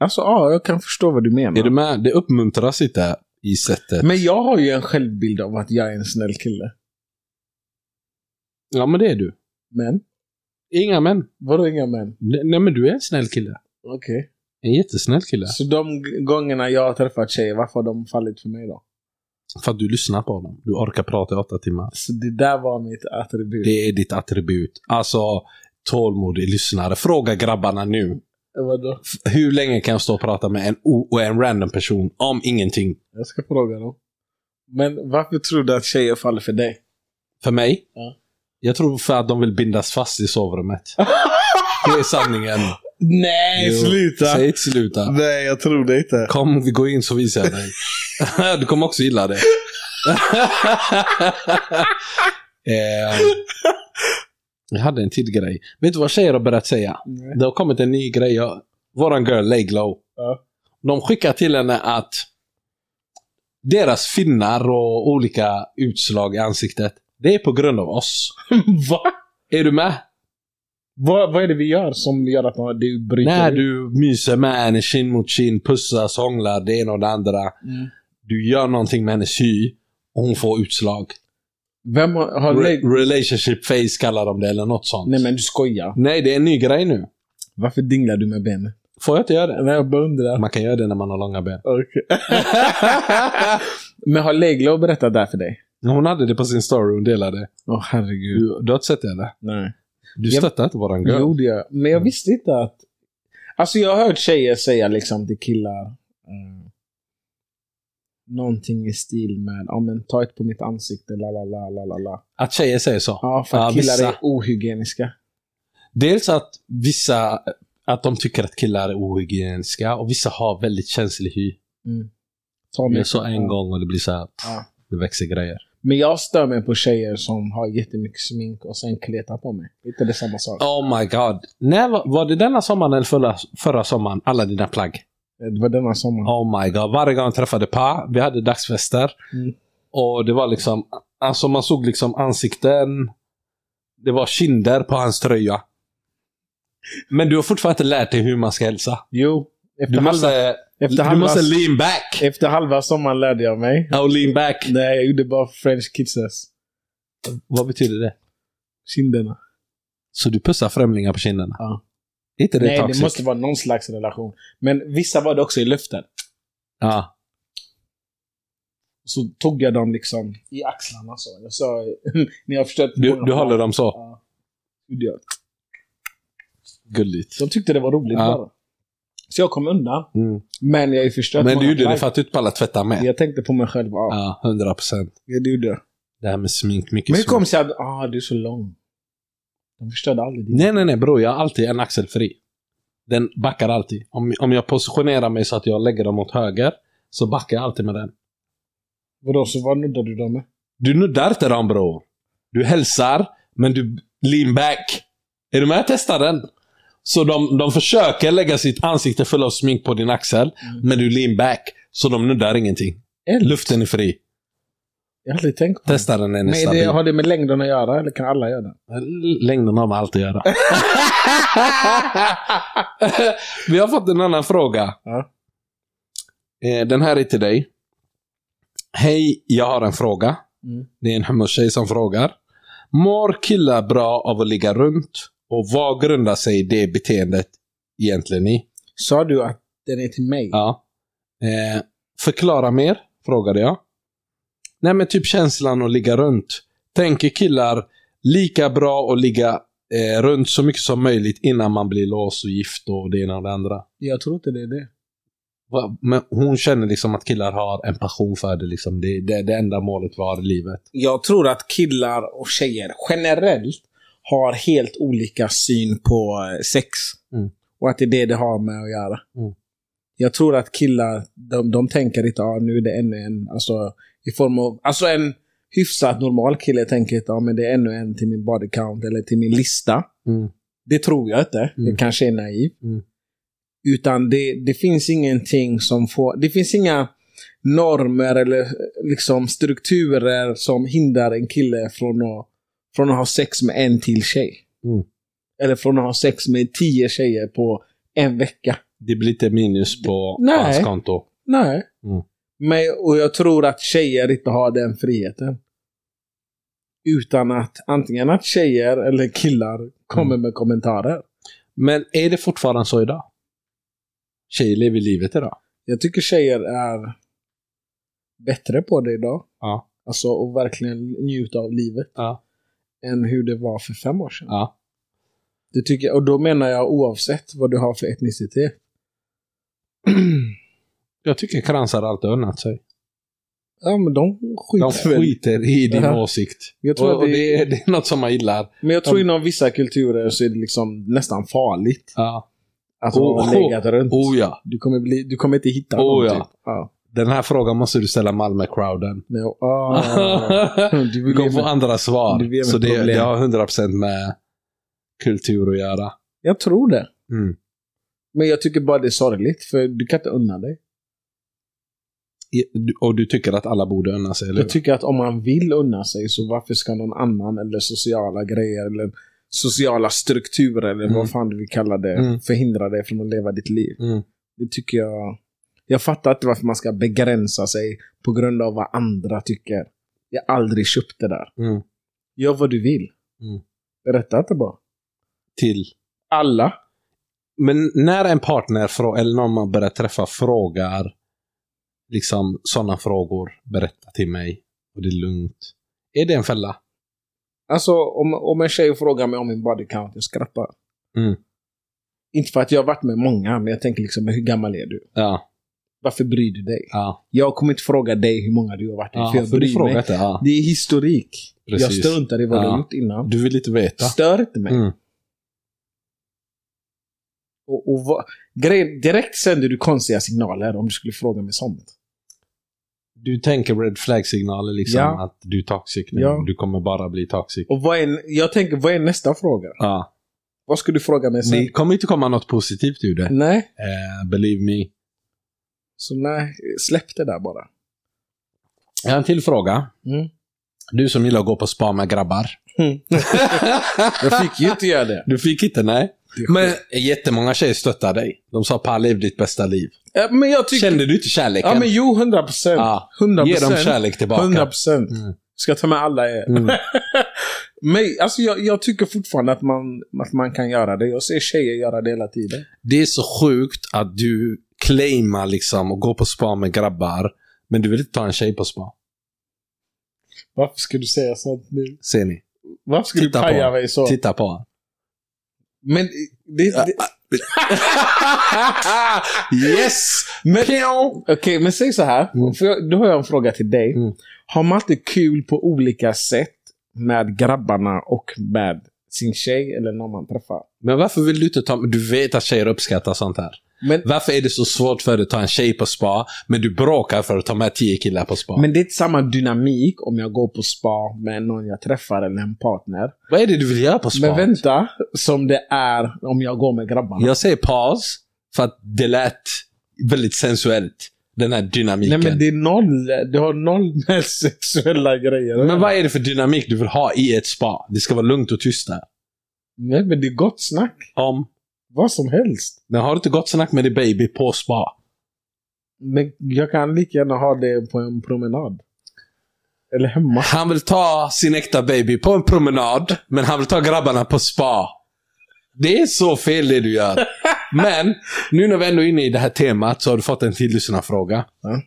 B: Alltså ja, jag kan förstå vad du menar.
C: Är du med? Det uppmuntras inte i sättet.
B: Men jag har ju en självbild av att jag är en snäll kille.
C: Ja, men det är du.
B: Men?
C: Inga män.
B: Vadå inga män?
C: Nej, men du är en snäll kille.
B: Okej.
C: En jättesnäll kille.
B: Så de g- gångerna jag har träffat tjejer, varför har de fallit för mig då?
C: För att du lyssnar på dem. Du orkar prata i åtta timmar.
B: Så det där var mitt attribut.
C: Det är ditt attribut. Alltså, tålmodig lyssnare. Fråga grabbarna nu.
B: Eh, Vadå?
C: F- Hur länge kan jag stå och prata med en, o- och en random person om ingenting?
B: Jag ska fråga dem. Men varför tror du att tjejer faller för dig?
C: För mig?
B: Ja.
C: Jag tror för att de vill bindas fast i sovrummet. Det är sanningen.
B: Nej,
C: Jo, Säg inte sluta.
B: Nej, jag tror det inte.
C: Kom, vi går in så visar jag dig. [laughs] du kommer också gilla det. [laughs] eh, jag hade en till grej. Vet du vad tjejer har börjat säga?
B: Nej.
C: Det har kommit en ny grej. Jag, Våran girl Lay Glow.
B: Ja.
C: De skickar till henne att deras finnar och olika utslag i ansiktet, det är på grund av oss.
B: [laughs] Va?
C: Är du med?
B: Vad, vad är det vi gör som gör att man- du bryter
C: När
B: ut?
C: du myser med henne kind mot kind, pussas, hånglar, det ena och det andra.
B: Mm.
C: Du gör någonting med hennes hy och hon får utslag.
B: Vem har, har
C: Re
B: lägg...
C: relationship face kallar de det eller något sånt.
B: Nej men du skojar.
C: Nej, det är en ny grej nu.
B: Varför dinglar du med benen?
C: Får jag inte göra det?
B: Nej, jag bara undrar.
C: Man kan göra det när man har långa ben.
B: Okej. [laughs] men har Leglo berättat det här för dig?
C: Hon hade det på sin story, hon delade.
B: Åh herregud.
C: Du, du har inte sett det eller?
B: Nej. Mm.
C: Du
B: Jag-
C: stöttar inte våran girl?
B: Jo, det gör jag. Men jag visste inte att... Alltså jag har hört tjejer säga liksom till killar eh, någonting i stil med ja men ta ett på mitt ansikte, la la la la la la.
C: Att tjejer säger så?
B: Ja, för att
C: Ja,
B: killar
C: vissa.
B: är ohygieniska.
C: Dels att vissa, att de tycker att killar är ohygieniska och vissa har väldigt känslig hy.
B: Mm. Ta
C: Det är
B: mig.
C: så en gång och det blir så här, pff,
B: Ja.
C: det växer grejer.
B: Men jag stör mig på tjejer som har jättemycket smink och sen kletar på mig. Inte det samma sak?
C: Oh my god. När var, var det denna sommaren eller förra, förra sommaren? Alla dina plagg?
B: Det var denna sommaren.
C: Oh my god. Varje gång jag träffade Pa, vi hade dagsfester.
B: Mm.
C: Och det var liksom, alltså man såg liksom ansikten. Det var kinder på hans tröja. Men du har fortfarande inte lärt dig hur man ska hälsa.
B: Jo, efter
C: Du
B: halva,
C: måste,
B: efter
C: du
B: halva-
C: måste lean back.
B: efter halva sommaren lärde jag mig.
C: Oh, lean back.
B: Nej, jag gjorde bara french kisses.
C: Vad betyder det?
B: Kinderna.
C: Så du pussar främlingar på kinderna?
B: Ja.
C: Är inte det
B: Nej,
C: toxic?
B: det måste vara någon slags relation. Men vissa var det också i luften.
C: Ja.
B: Så tog jag dem liksom i axlarna så. Jag sa, [laughs] ni har förstört
C: Du,
B: många
C: du håller
B: plan.
C: dem så?
B: Ja. Gjorde jag.
C: Gulligt.
B: De tyckte det var roligt
C: Ja.
B: bara. Så jag kom undan.
C: Mm.
B: Men jag är förstört
C: Men
B: många
C: du gjorde det
B: plagg.
C: för att du inte pallade tvätta med?
B: Jag tänkte på mig själv. Ja,
C: Ja, hundra procent.
B: ja. det gjorde jag.
C: Det här med smink, mycket
B: Men hur
C: smink.
B: kom det sig att ah, du är så lång? De förstörde aldrig din.
C: Nej, nej, nej bror. Jag har alltid en axel fri. Den backar alltid. Om, om jag positionerar mig så att jag lägger dem åt höger, så backar jag alltid med den.
B: Vadå, så vad nuddade du dem med?
C: Du nuddar inte dem bror. Du hälsar, men du lean back. Är du med? Testa den. Så de, de försöker lägga sitt ansikte full av smink på din axel,
B: Mm.
C: men du lean back. Så de nuddar ingenting.
B: Eller?
C: Luften är fri.
B: Jag har aldrig tänkt på det.
C: Testa den när den är
B: Men är
C: stabil.
B: det, har det med längden att göra eller kan alla göra det?
C: Längden har med allt att göra. [laughs] Vi har fått en annan fråga.
B: Ja.
C: Eh, Den här är till dig. Hej, jag har en fråga.
B: Mm.
C: Det är en hummertjej som frågar. Mår killar bra av att ligga runt? Och vad grundar sig det beteendet egentligen i?
B: Sa du att den är till mig?
C: Ja. Eh, förklara mer, frågade jag. Nej men typ känslan att ligga runt. Tänker killar lika bra att ligga eh, runt så mycket som möjligt innan man blir låst och gift och det ena och det andra?
B: Jag tror inte det är det.
C: Va- Men hon känner liksom att killar har en passion för det. Liksom. Det är det, det enda målet vi har i livet.
B: Jag tror att killar och tjejer generellt har helt olika syn på eh, sex.
C: Mm.
B: Och att det är det det har med att göra.
C: Mm.
B: Jag tror att killar, de, de tänker inte ah, nu är det ännu en. Alltså, i form av, alltså en hyfsat normal kille tänker inte ah, men det är ännu en till min body count eller till min lista.
C: Mm.
B: Det tror jag inte.
C: Mm.
B: Jag kanske är naiv.
C: Mm.
B: Utan det, det finns ingenting som får... Det finns inga normer eller eh, liksom strukturer som hindrar en kille från att, från att ha sex med en till tjej.
C: Mm.
B: Eller från att ha sex med tio tjejer på en vecka.
C: Det blir lite minus på
B: Nej.
C: hans konto.
B: Nej.
C: Mm.
B: Men, och jag tror att tjejer inte har den friheten. Utan att antingen att tjejer eller killar kommer med kommentarer.
C: Men är det fortfarande så idag? Tjejer lever livet idag.
B: Jag tycker tjejer är bättre på det idag.
C: Ja.
B: Alltså och verkligen njuta av livet
C: Ja.
B: än hur det var för fem år sedan.
C: ja.
B: Det tycker jag, och då menar jag oavsett vad du har för etnicitet.
C: Jag tycker kransar alltid unnat sig.
B: Ja, men de
C: De
B: skiter väl.
C: skiter i din
B: Ja.
C: åsikt.
B: Jag tror
C: och,
B: att
C: och
B: det-
C: det, är, det är något som man gillar.
B: Men jag tror inom vissa kulturer så är det liksom nästan farligt
C: Ja.
B: att
C: Oh,
B: ha legat runt.
C: Oh ja.
B: Du, kommer bli, du kommer inte hitta
C: Oh,
B: någon
C: ja.
B: typ. Ja.
C: Den här frågan måste du ställa Malmö-crowden.
B: Men,
C: [laughs]
B: ah. du
C: Vi
B: vill ge
C: kommer få
B: mig-
C: andra svar.
B: Det blir
C: så
B: mitt
C: det,
B: problem.
C: det har 100% med kultur att göra.
B: jag tror det.
C: Mm.
B: Men jag tycker bara det är sorgligt, för du kan inte unna dig.
C: I- du- Och du tycker att alla borde unna sig, eller
B: Jag tycker att om man vill unna sig, så varför ska någon annan, eller sociala grejer, eller sociala strukturer, eller
C: Mm.
B: vad fan du vill kalla det,
C: Mm.
B: förhindra dig från att leva ditt liv.
C: hur? Mm.
B: Det tycker jag... Jag fattar inte varför man ska begränsa sig på grund av vad andra tycker. Jag har aldrig köpt det där.
C: Mm.
B: Gör vad du vill.
C: Mm.
B: Rätta inte bara.
C: Till.
B: Alla.
C: Men när en partner frå- eller någon man börjar träffa frågar liksom sådana frågor, berätta till mig och det är lugnt. Är det en fälla?
B: Alltså om, om en tjej frågar mig om min body count, jag skrattar.
C: Mm.
B: Inte för att jag har varit med många, men jag tänker liksom hur gammal är du?
C: Ja.
B: Varför bryr du dig?
C: ja.
B: Jag kommer inte fråga dig hur många du har varit i,
C: ja
B: för jag
C: för du
B: bryr mig.
C: frågar det. Ja.
B: Det är historik. Jag
C: Precis.
B: struntar i vad du
C: Ja.
B: har gjort innan.
C: Du vill inte veta.
B: Stör inte mig.
C: Mm.
B: Och, och vad, grej, direkt sänder du konstiga signaler om du skulle fråga mig sånt.
C: Du tänker red flag-signaler liksom,
B: Ja.
C: att du är toxic nu.
B: Ja.
C: Du kommer bara bli toxic.
B: Och vad är, jag tänker, vad är nästa fråga?
C: Ja.
B: Vad ska du fråga mig sen?
C: Det kommer inte komma något positivt ur det.
B: Nej,
C: Eh, believe me.
B: så nej, släpp det där bara.
C: Jag har en till fråga.
B: Mm.
C: Du som gillar att gå på spa med grabbar.
B: Mm. Jag fick ju inte göra det.
C: du fick inte, nej.
B: Det är
C: [laughs] Men jättemånga tjejer stöttar dig. De sa pa, lev ditt bästa liv.
B: Ja, men jag tycker...
C: Kände du inte kärleken?
B: Ja, men jo, 100 procent.
C: Ja.
B: 100
C: Ge dem kärlek tillbaka.
B: 100 procent.
C: Mm.
B: Ska ta med alla er.
C: Mm.
B: Men alltså, jag, jag tycker fortfarande att man, att man kan göra det. Jag ser tjejer göra det hela tiden.
C: Det är så sjukt att du claimar liksom och går på spa med grabbar, men du vill inte ta en tjej på spa.
B: Varför ska du säga sånt nu?
C: Ser ni?
B: Varför ska
C: Titta
B: du
C: på
B: paja
C: honom.
B: mig så?
C: Titta Ah, på honom.
B: Men det... det
C: Yes!
B: [laughs] men,
C: Pjong!
B: Okej, men säg så här.
C: Mm.
B: För jag, då har jag en fråga till dig.
C: Mm.
B: Har man inte kul på olika sätt med grabbarna och med sin tjej eller någon man träffar?
C: Men varför vill du inte ta... Du vet att tjejer uppskattar sånt här.
B: Men,
C: Varför är det så svårt för dig att ta en tjej på spa, men du bråkar för att ta med tio killar på spa?
B: men det är inte samma dynamik om jag går på spa med någon jag träffar eller en partner.
C: Vad är det du vill göra på spa?
B: Men vänta, som det är om jag går med grabbarna.
C: Jag säger paus, för att det lät väldigt sensuellt. Den här
B: Nej
C: dynamiken.
B: men det är noll, det har noll med [laughs] sexuella grejer.
C: Men vad är det för dynamik du vill ha i ett spa? Det ska vara lugnt och tyst där.
B: Nej men det är gott snack.
C: Om.
B: Vad som helst.
C: Men har du inte gott snack med din baby på spa?
B: Men jag kan lika gärna ha det på en promenad. Eller hemma.
C: Han vill ta sin äkta baby på en promenad, men han vill ta grabbarna på spa. Det är så fel det du gör. Men, nu när vi ändå är inne i det här temat så har du fått en till lyssnarfråga.
B: Ja.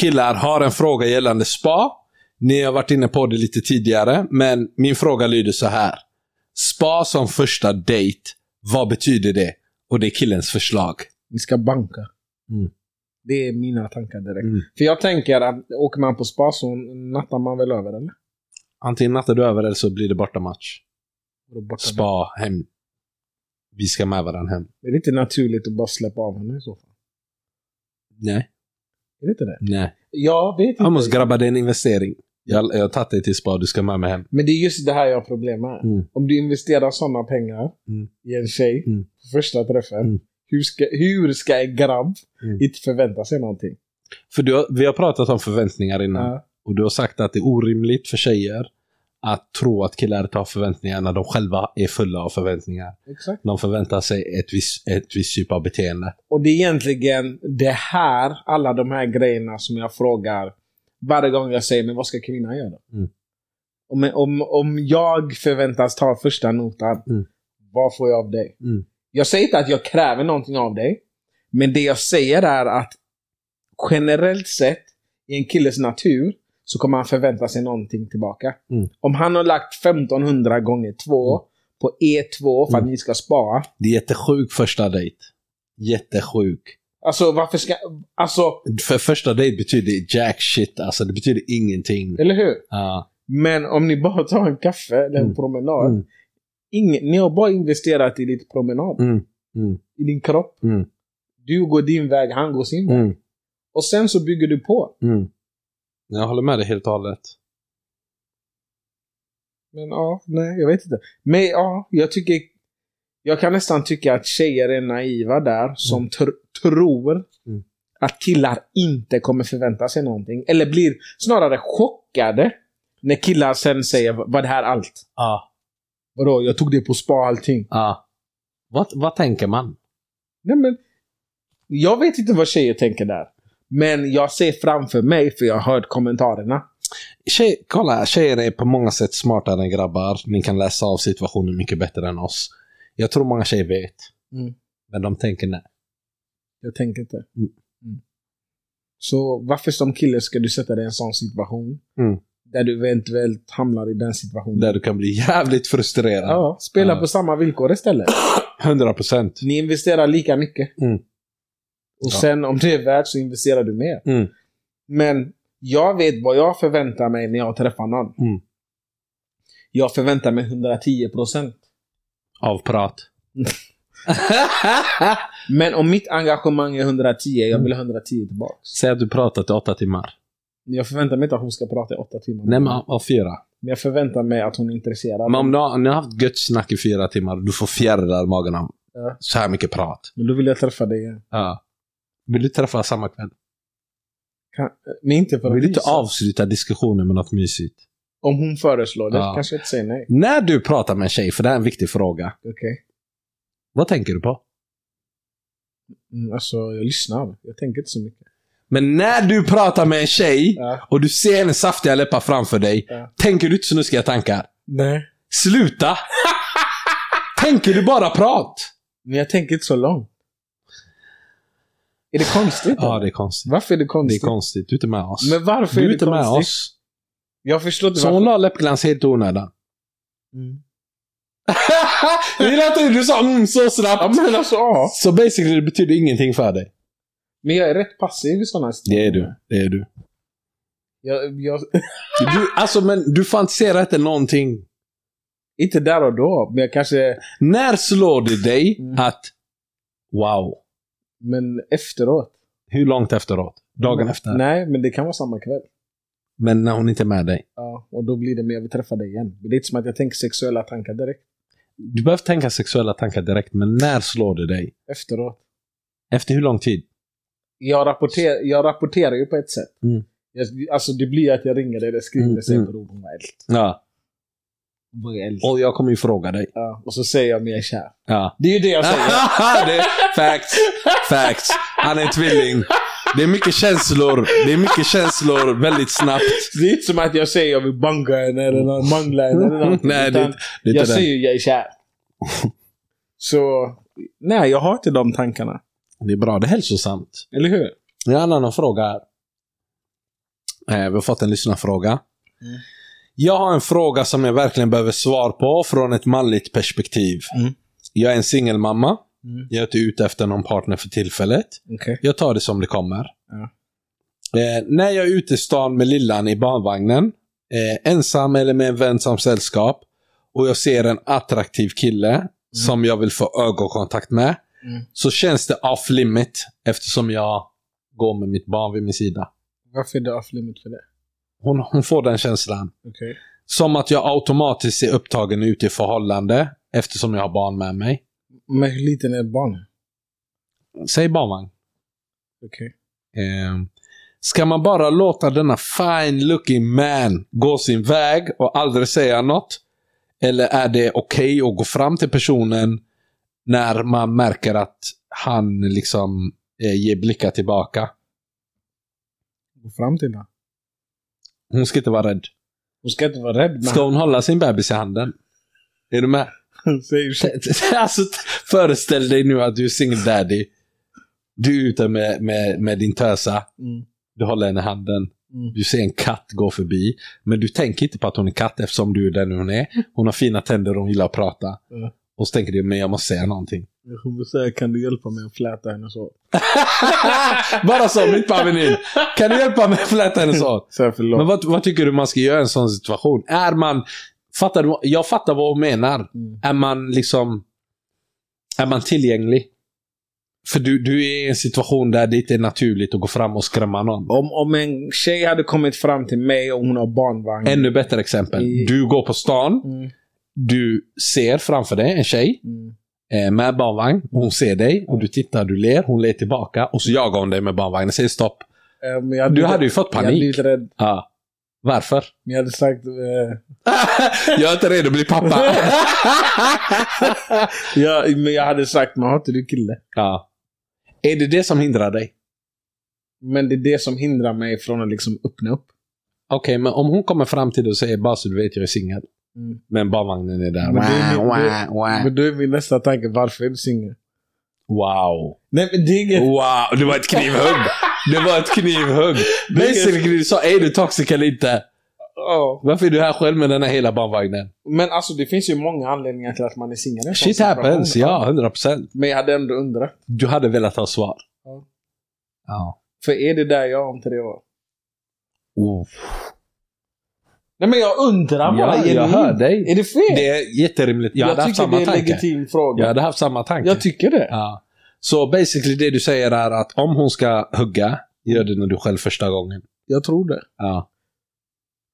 C: Killar, har en fråga gällande spa. Ni har varit inne på det lite tidigare, men min fråga lyder så här. Spa som första dejt, vad betyder det? Och det är killens förslag.
B: Ni ska banka.
C: Mm.
B: Det är mina tankar direkt.
C: Mm.
B: För jag tänker att åker man på spa så nattar man väl över eller?
C: Antingen nattar du över eller så blir det bortamatch.
B: Då borta.
C: Spa, hem. Vi ska med varandra hem.
B: Är det inte naturligt att bara släppa av henne i så fall?
C: Nej.
B: Är det inte det?
C: Nej.
B: Jag vet inte.
C: Amos grabbar, det är en investering. Jag, jag har tagit dig till spa, du ska med mig hem.
B: Men det är just det här jag har problem med.
C: Mm.
B: Om du investerar sådana pengar
C: Mm.
B: i en tjej
C: Mm.
B: på första träffen.
C: Mm.
B: Hur, ska, hur ska en grabb
C: Mm.
B: inte förvänta sig någonting?
C: För du har, vi har pratat om förväntningar innan.
B: Ja.
C: Och du har sagt att det är orimligt för tjejer att tro att killar tar förväntningar när de själva är fulla av förväntningar.
B: exakt.
C: De förväntar sig ett visst ett visst typ av beteende.
B: Och det är egentligen det här, alla de här grejerna som jag frågar varje gång jag säger men vad ska kvinnan göra?
C: Mm.
B: Om, om, om jag förväntas ta första notan,
C: Mm.
B: vad får jag av dig?
C: Mm.
B: Jag säger inte att jag kräver någonting av dig, men det jag säger är att generellt sett i en killes natur så kommer han förvänta sig någonting tillbaka.
C: Mm.
B: Om han har lagt 1500 gånger 2 på E2
C: Mm.
B: för att ni ska spara,
C: Det är jättesjuk första dejt. Jättesjuk.
B: alltså varför ska... Alltså,
C: För första dejt betyder det jack shit, alltså det betyder ingenting.
B: eller hur?
C: Ja.
B: Men om ni bara tar en kaffe eller en
C: Mm.
B: promenad.
C: Mm.
B: Ingen, ni har bara investerat i ditt promenad.
C: Mm. Mm.
B: I din kropp.
C: Mm.
B: Du går din väg, han går sin väg.
C: Mm.
B: Och sen så bygger du på.
C: Mm. Jag håller med dig helt och hållet.
B: Men ja, nej, jag vet inte. Men ja, jag tycker... Jag kan nästan tycka att tjejer är naiva där som tr tror
C: Mm.
B: att killar inte kommer förvänta sig någonting. Eller blir snarare chockade när killar sen säger vad det här allt.
C: Ja.
B: Vadå, jag tog det på spa allting.
C: ja. Vad, vad tänker man?
B: Nej, men, jag vet inte vad tjejer tänker där. Men jag ser framför mig för jag har hört kommentarerna.
C: Tjej, kolla, tjejer är på många sätt smartare än grabbar. Ni kan läsa av situationen mycket bättre än oss. Jag tror många tjejer vet.
B: Mm.
C: Men de tänker nej.
B: Jag tänker inte. Mm. Så varför som kille ska du sätta dig i en sån situation?
C: Mm.
B: Där du eventuellt hamnar i den situationen.
C: Där du kan bli jävligt frustrerad.
B: Ja, spela
C: Ja.
B: på samma villkor
C: [clears throat]
B: istället.
C: 100 procent.
B: Ni investerar lika mycket.
C: Mm.
B: Och
C: Ja.
B: sen om det är värt så investerar du mer.
C: Mm.
B: Men jag vet vad jag förväntar mig när jag träffar någon.
C: Mm.
B: Jag förväntar mig 110 procent.
C: Avprat. [laughs]
B: Men om mitt engagemang är 110,
C: Mm.
B: jag vill ha 110 tillbaks.
C: Säg att du pratat i åtta timmar.
B: Jag förväntar mig inte att hon ska prata i åtta timmar.
C: Nej, men av fyra.
B: Men jag förväntar mig att hon är intresserad.
C: Men om du har, om ni har haft gött snack i fyra timmar du får fjärilar i magen av
B: Ja.
C: så här mycket prat.
B: Men då vill jag träffa dig igen.
C: Ja. Vill du träffa samma kväll?
B: Kan, men inte för att
C: Vill du inte
B: visa.
C: avsluta diskussionen med något mysigt?
B: Om hon föreslår det
C: Ja.
B: kanske jag inte säger nej.
C: När du pratar med en tjej, för det här är en viktig fråga.
B: Okej.
C: Vad tänker du på?
B: Mm, alltså, jag lyssnar. Jag tänker inte så mycket.
C: Men när du pratar med en tjej
B: Ja.
C: och du ser hennes saftiga läppar framför dig,
B: Ja.
C: tänker du inte snuskiga tankar?
B: Nej.
C: Sluta! [laughs] tänker du bara prat?
B: Men jag tänker inte så långt. Är det konstigt?
C: Ja,
B: eller?
C: det är konstigt.
B: Varför är det
C: Det är
B: konstigt?
C: konstigt. Du är inte med oss.
B: Men varför
C: du
B: är
C: är
B: det
C: inte med
B: konstigt?
C: oss.
B: Jag förstår inte
C: Så
B: varför.
C: hon la läppglans helt i onödan. [laughs]
B: Mm.
C: Jag gillar inte hur du sa mm så
B: Ja,
C: snabbt.
B: men alltså, ja.
C: Så basically det betyder ingenting för dig.
B: Men jag är rätt passiv i sådana
C: Det är du. Det är du.
B: Jag, jag,
C: du alltså men du fantiserar inte någonting.
B: inte där och då, men jag kanske...
C: När slår det dig
B: Mm.
C: att wow,
B: Men efteråt.
C: hur långt efteråt? Dagen efter?
B: Nej, men det kan vara samma kväll.
C: Men när hon inte är med dig.
B: Ja, och då blir det mer jag vill träffa dig igen. Men det är inte som att jag tänker sexuella tankar direkt
C: Du behöver tänka sexuella tankar direkt, men när slår det dig?
B: efteråt.
C: Efter hur lång tid?
B: Jag, rapporter, jag rapporterar ju på ett sätt.
C: Mm.
B: Jag, alltså det blir att jag ringer dig eller skriver
C: Mm,
B: och säger
C: mm.
B: bror hon var eld.
C: Ja.
B: Hon var eld.
C: Och jag kommer ju fråga dig.
B: Ja, och så säger jag men jag är kär.
C: Ja.
B: Det är ju det jag
C: [laughs]
B: säger.
C: det, facts. Facts. Han är en tvilling. Det är mycket känslor. Det är mycket känslor väldigt snabbt.
B: det är inte som att jag säger jag vill banga henne eller någon- mangla henne
C: [laughs]
B: eller någonting.
C: Mm. Nej, det är
B: utan
C: inte- det är
B: jag
C: inte
B: säger
C: det.
B: ju jag är
C: [laughs]
B: kär. så nej, jag har inte de tankarna.
C: Det är bra. Det är hälsosamt.
B: Eller hur?
C: Jag har en annan fråga här. Eh, vi har fått en lyssnarfråga.
B: Mm.
C: Jag har en fråga som jag verkligen behöver svar på från ett manligt perspektiv.
B: Mm.
C: Jag är en singelmamma.
B: Mm.
C: Jag är inte ute efter någon partner för tillfället.
B: Okej.
C: Jag tar det som det kommer.
B: Ja.
C: Eh, när jag är ute i stan med lillan i barnvagnen, eh, ensam eller med en vän som sällskap, och jag ser en attraktiv kille som jag vill få ögonkontakt med,
B: Mm.
C: så känns det off limit eftersom jag går med mitt barn vid min sida.
B: Varför är det off limit för det?
C: Hon, hon får den känslan.
B: Okej.
C: Som att jag automatiskt är upptagen ute i förhållande eftersom jag har barn med mig.
B: Men hur liten är barnet?
C: Säg barnvagn.
B: Okej.
C: Ehm, Ska man bara låta denna fine looking man gå sin väg och aldrig säga något? Eller är det okej att gå fram till personen när man märker att han liksom eh, ger blickar tillbaka?
B: Gå fram till henne.
C: Hon ska inte vara rädd.
B: Hon ska inte vara rädd. men-
C: Ska hon hålla sin bebis i handen? Är du med?
B: Säg ursäkta.
C: alltså, t- föreställ dig nu att du är single daddy. Du är ute med, med, med din tösa.
B: Mm.
C: Du håller henne i handen.
B: Mm.
C: Du ser en katt gå förbi. Men du tänker inte på att hon är katt eftersom du är den hon är. Hon har fina tänder och hon gillar att prata.
B: Mm.
C: Och så tänker du, men jag måste säga någonting. [laughs]
B: Jag kommer säga, kan du hjälpa mig att fläta henne så?
C: Bara så, mitt på Avenyn. Kan du hjälpa mig att fläta hennes hår?
B: Så här, förlåt.
C: Men vad, vad tycker du man ska göra i en sån situation? Är man... Fattar du, jag fattar vad hon menar.
B: Mm.
C: Är man liksom... Är man tillgänglig? För du, du är i en situation där det inte är naturligt att gå fram och skrämma någon.
B: Om, om en tjej hade kommit fram till mig och hon har barnvagn.
C: Ännu bättre exempel.
B: Mm. I-
C: Du går på stan,
B: Mm.
C: du ser framför dig en tjej,
B: Mm.
C: eh, med barnvagn. Och Hon ser dig och du tittar, du ler, hon ler tillbaka och så jagar hon dig med barnvagnen. Säger stopp.
B: Eh, men jag-
C: Du hade ju fått
B: Jag hade
C: panik.
B: blivit rädd.
C: Ja. Varför?
B: Men jag hade sagt... Eh,
C: Jag är inte redo att
B: [laughs]
C: bli pappa.
B: jag, men jag hade sagt, men har inte du kille?
C: [laughs] ja. Är det det som hindrar dig?
B: Men det är det som hindrar mig från att liksom öppna upp.
C: Okej, men om hon kommer fram till dig och säger bara så du vet, jag är singel.
B: Mm.
C: Men barnvagnen är där.
B: Men det är
C: Wow,
B: min-
C: wow, wow.
B: Men då är min nästa tanke, varför är du singel?
C: wow.
B: Nej men det är
C: Oh.
B: inget...
C: Wow, det var ett knivhugg. Det var ett knivhugg. Basically, du sa är du toxic eller inte?
B: Ja.
C: Varför är du här själv med den här hela barnvagnen?
B: Men alltså det finns ju många anledningar till att man är singel.
C: Shit happens, ja, 100%.
B: Men jag hade ändå undrat.
C: Du hade velat ha svar.
B: Ja.
C: Ja.
B: För är det där jag är om tre år?
C: Oh.
B: Nej men jag undrar bara
C: Ja, jag
B: genuint.
C: hör dig.
B: Är det fel?
C: Det är jätterimligt. Jag, hade
B: jag
C: haft
B: tycker det
C: samma
B: är en
C: tanke.
B: legitim fråga.
C: Jag hade haft samma tanke.
B: Jag tycker det.
C: Ja. Så basically det du säger är att om hon ska hugga, gör det när du själv första gången.
B: Jag tror det.
C: Ja.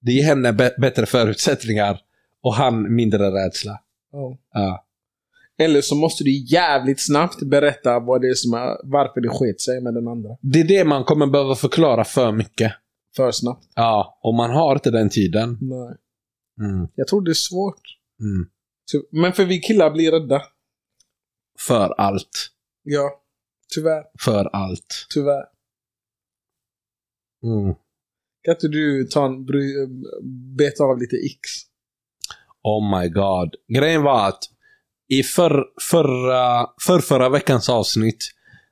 C: Det ger henne bä- bättre förutsättningar och han mindre rädsla. Ja.
B: Eller så måste du jävligt snabbt berätta vad det är som är, varför det sket sig med den andra.
C: Det är det man kommer behöva förklara för mycket.
B: För snabbt.
C: Ja, och man har inte den tiden.
B: Nej.
C: Mm.
B: Jag tror det är svårt.
C: Mm.
B: Ty- Men för vi killar blir rädda.
C: För allt.
B: Ja. Tyvärr.
C: För allt.
B: Tyvärr.
C: Mm.
B: Kan inte du ta en, bry- beta av lite x?
C: Oh my god. Grejen var att i för, förra, för förra veckans avsnitt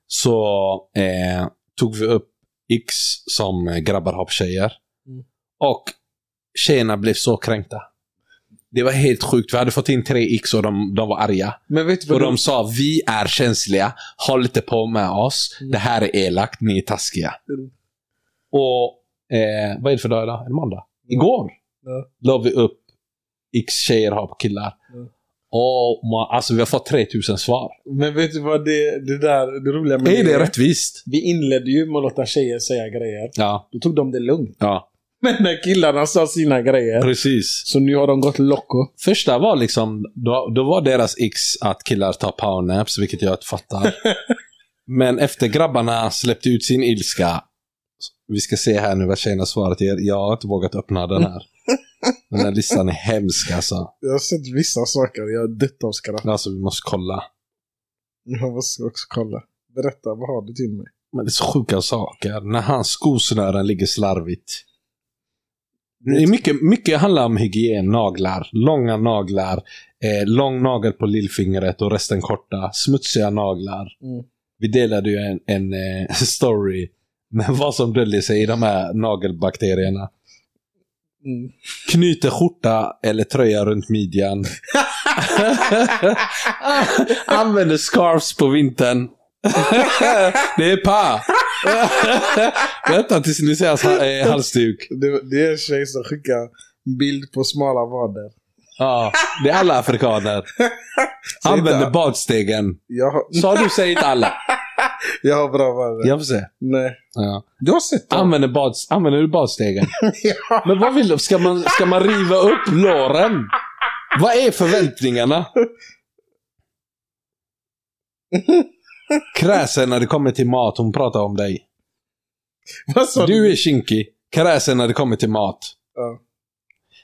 C: så eh, tog vi upp X som grabbar har på tjejer.
B: Mm.
C: Och tjejerna blev så kränkta. Det var helt sjukt. Vi hade fått in tre X och de, de var arga.
B: Men vet du
C: Och
B: vad
C: de sa vi är känsliga, håll inte på med oss.
B: Mm.
C: Det här är elakt, ni är taskiga.
B: Mm.
C: Och eh, vad är det för dag idag? Är det måndag? Igår
B: Ja.
C: la vi upp X tjejer har på killar.
B: Mm.
C: Och man, alltså vi har fått 3000 svar.
B: Men vet du vad det, det där, det roliga med
C: är det rättvist?
B: Vi inledde ju med att låta tjejer säga grejer.
C: Ja,
B: Då tog de det lugnt. [laughs]
C: ja,
B: Men när killarna sa sina grejer.
C: precis.
B: Så nu har de gått loco.
C: Första var liksom, då, då var deras X att killar tar powernaps, vilket jag inte fattar. Men efter grabbarna släppte ut sin ilska. Vi ska se här nu vad tjejerna svarat er. Jag har inte vågat öppna den här. Den här listan är hemsk alltså.
B: Jag har sett vissa saker, jag har dött av skratt.
C: Alltså vi måste kolla.
B: Jag måste också kolla. Berätta, vad har du till mig?
C: Men det är så sjuka saker. När hans skosnören ligger slarvigt. Det är mycket, mycket handlar om hygien, naglar, långa naglar, eh, lång nagel på lillfingret och resten korta, smutsiga naglar.
B: Mm.
C: Vi delade ju en, en eh, [laughs] story med vad som döljer sig i de här nagelbakterierna.
B: Mm.
C: Knyter skjorta eller tröja
B: [laughs]
C: runt midjan. [laughs] Använder scarves på vintern. det är pa! [laughs] Vänta tills ni ser hans ha- eh, halsduk.
B: Det, det är en tjej som skickar bild på smala vader.
C: Ja, det är alla [laughs] afrikaner.
B: Säg inte-
C: Använder badstegen.
B: Jag har,
C: Sa du, säg inte alla.
B: jag har bra vader.
C: Jag får se.
B: Nej.
C: Ja.
B: Du har sett dem?
C: Använder, bads, använder du badstegen?
B: [laughs] ja.
C: Men vad vill du? Ska man, ska man riva upp låren? Vad är förväntningarna? Kräsen när det kommer till mat. Hon pratar om dig.
B: Vad sa du?
C: Du är kinky. Kräsen när det kommer till mat.
B: Ja.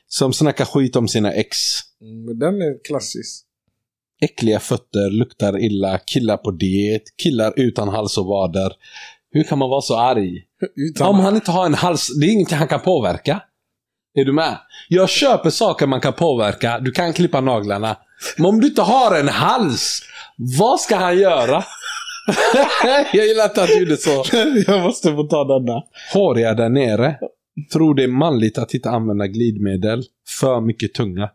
C: Som snackar skit om sina ex.
B: Mm, Men den är klassisk.
C: Äckliga fötter, luktar illa, killar på diet, killar utan hals och vader. Hur kan man vara så arg?
B: Utan...
C: Om han inte har en hals, det är inget han kan påverka. Är du med? Jag köper saker man kan påverka. Du kan klippa naglarna. Men om du inte har en hals, vad ska han göra? [laughs] jag gillar inte att du gjorde så.
B: [laughs] jag måste få ta den där.
C: Håriga där nere. Tror det är manligt att inte använda glidmedel. För mycket tunga.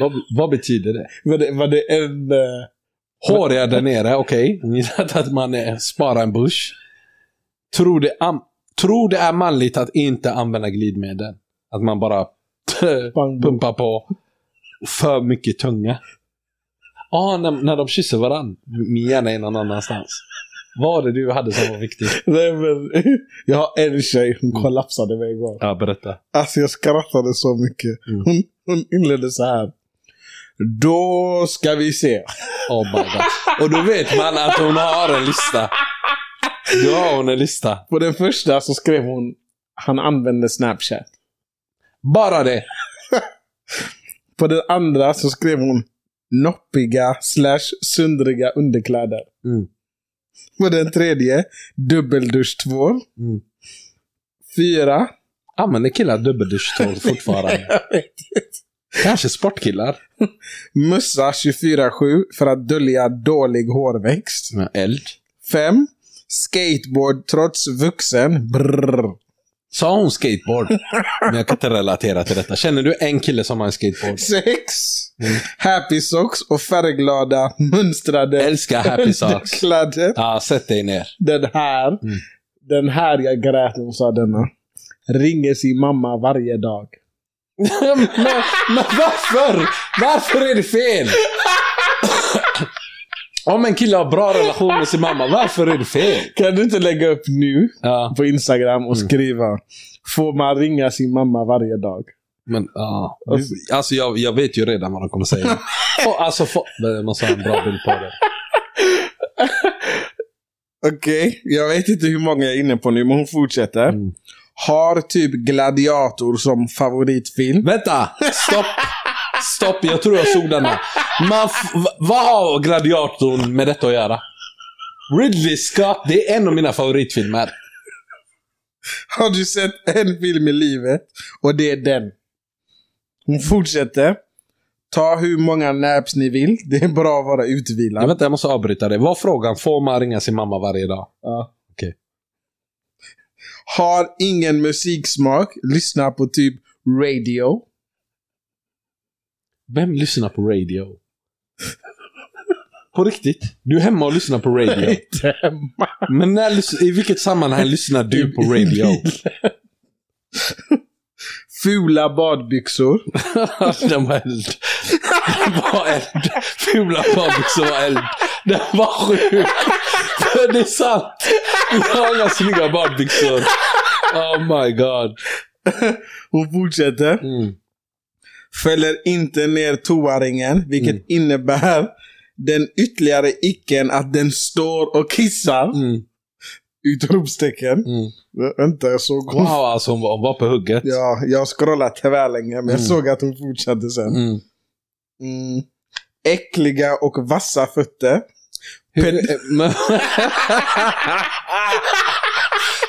C: Vad, vad betyder det?
B: Var det, var det en... eh,
C: Håriga där nere, okej. Hon gillar inte att man eh, sparar en bush. Tror det, am- tror det är manligt att inte använda glidmedel. Att man bara [laughs]
B: Pang. [laughs]
C: pumpar på för mycket tunga. Ja, när, när de kysser varandra. Min hjärna är någon annanstans. Vad var det du hade som var viktigt?
B: Nej, men, [laughs] jag har en tjej, hon kollapsade mig igår.
C: Ja, berätta.
B: Alltså jag skrattade så mycket.
C: Mm.
B: Hon, hon inledde så här. Då ska vi se.
C: Oh my God. Och då vet man att hon har en lista. Då har hon en lista.
B: På den första så skrev hon han använde Snapchat.
C: Bara det.
B: På den andra så skrev hon noppiga slash sundriga underkläder.
C: Mm.
B: På den tredje dubbelduschtvål.
C: Mm.
B: Fyra.
C: Använder killar dubbelduschtvål fortfarande? Kanske sportkillar.
B: Mössa 24-7 för att dölja dålig hårväxt.
C: Med eld.
B: Fem. Skateboard trots vuxen. Brrr.
C: Sa hon skateboard? Men jag kan inte relatera till detta. Känner du en kille som har en skateboard?
B: Sex.
C: Mm.
B: Happy socks och färgglada mönstrade
C: Älskar happy socks.
B: underkläder.
C: Ja, sätt dig ner.
B: Den här.
C: Mm.
B: Den här jag grät när hon sa denna. Ringer sin mamma varje dag.
C: [laughs] men, men varför? Varför är det fel? Om en kille har bra relation med sin mamma, varför är det fel?
B: Kan du inte lägga upp nu
C: Ja,
B: på Instagram och
C: Mm.
B: skriva Får man ringa sin mamma varje dag?
C: men ja. Alltså jag, jag vet ju redan vad de kommer [laughs] säga. Få- Alltså, få... Jag måste ha en bra bild på det.
B: Okej, jag vet inte hur många jag är inne på nu, men hon fortsätter.
C: Mm.
B: Har typ Gladiator som favoritfilm. [laughs]
C: Vänta! Stopp! Stopp, jag tror jag såg denna. Man f- v- vad har Gladiatorn med detta att göra? Ridley Scott, det är en av mina favoritfilmer.
B: Har du sett en film i livet? Och det är den. Hon fortsätter. Ta hur många naps ni vill. Det är bra att vara
C: Jag,
B: utvilad.
C: vänta, jag måste avbryta det. Vad frågan? Får man ringa sin mamma varje dag?
B: Ja.
C: Okej.
B: Har ingen musiksmak. Lyssna på typ radio.
C: Vem lyssnar på radio? På riktigt? Du är hemma och lyssnar på radio.
B: [laughs] Inte hemma.
C: Men när, lys- i vilket sammanhang lyssnar du på radio?
B: Fula badbyxor.
C: [laughs] Den var eld. Den var eld. Fula badbyxor var eld. Den var sjuk. För det är sant. Vi har inga snygga badbyxor. Oh my god.
B: Hon fortsätter.
C: Mm.
B: Fäller inte ner toaringen. Vilket
C: Mm.
B: innebär den ytterligare icken att den står och kissar.
C: Mm.
B: Utropstecken.
C: Mm.
B: Vänta, jag såg hon
C: Wow, alltså hon var, hon var på hugget.
B: Ja, jag scrollade tvärlänge men jag
C: Mm.
B: såg att hon fortsatte sen.
C: Mm.
B: Mm. Äckliga och vassa fötter.
C: Hur, men,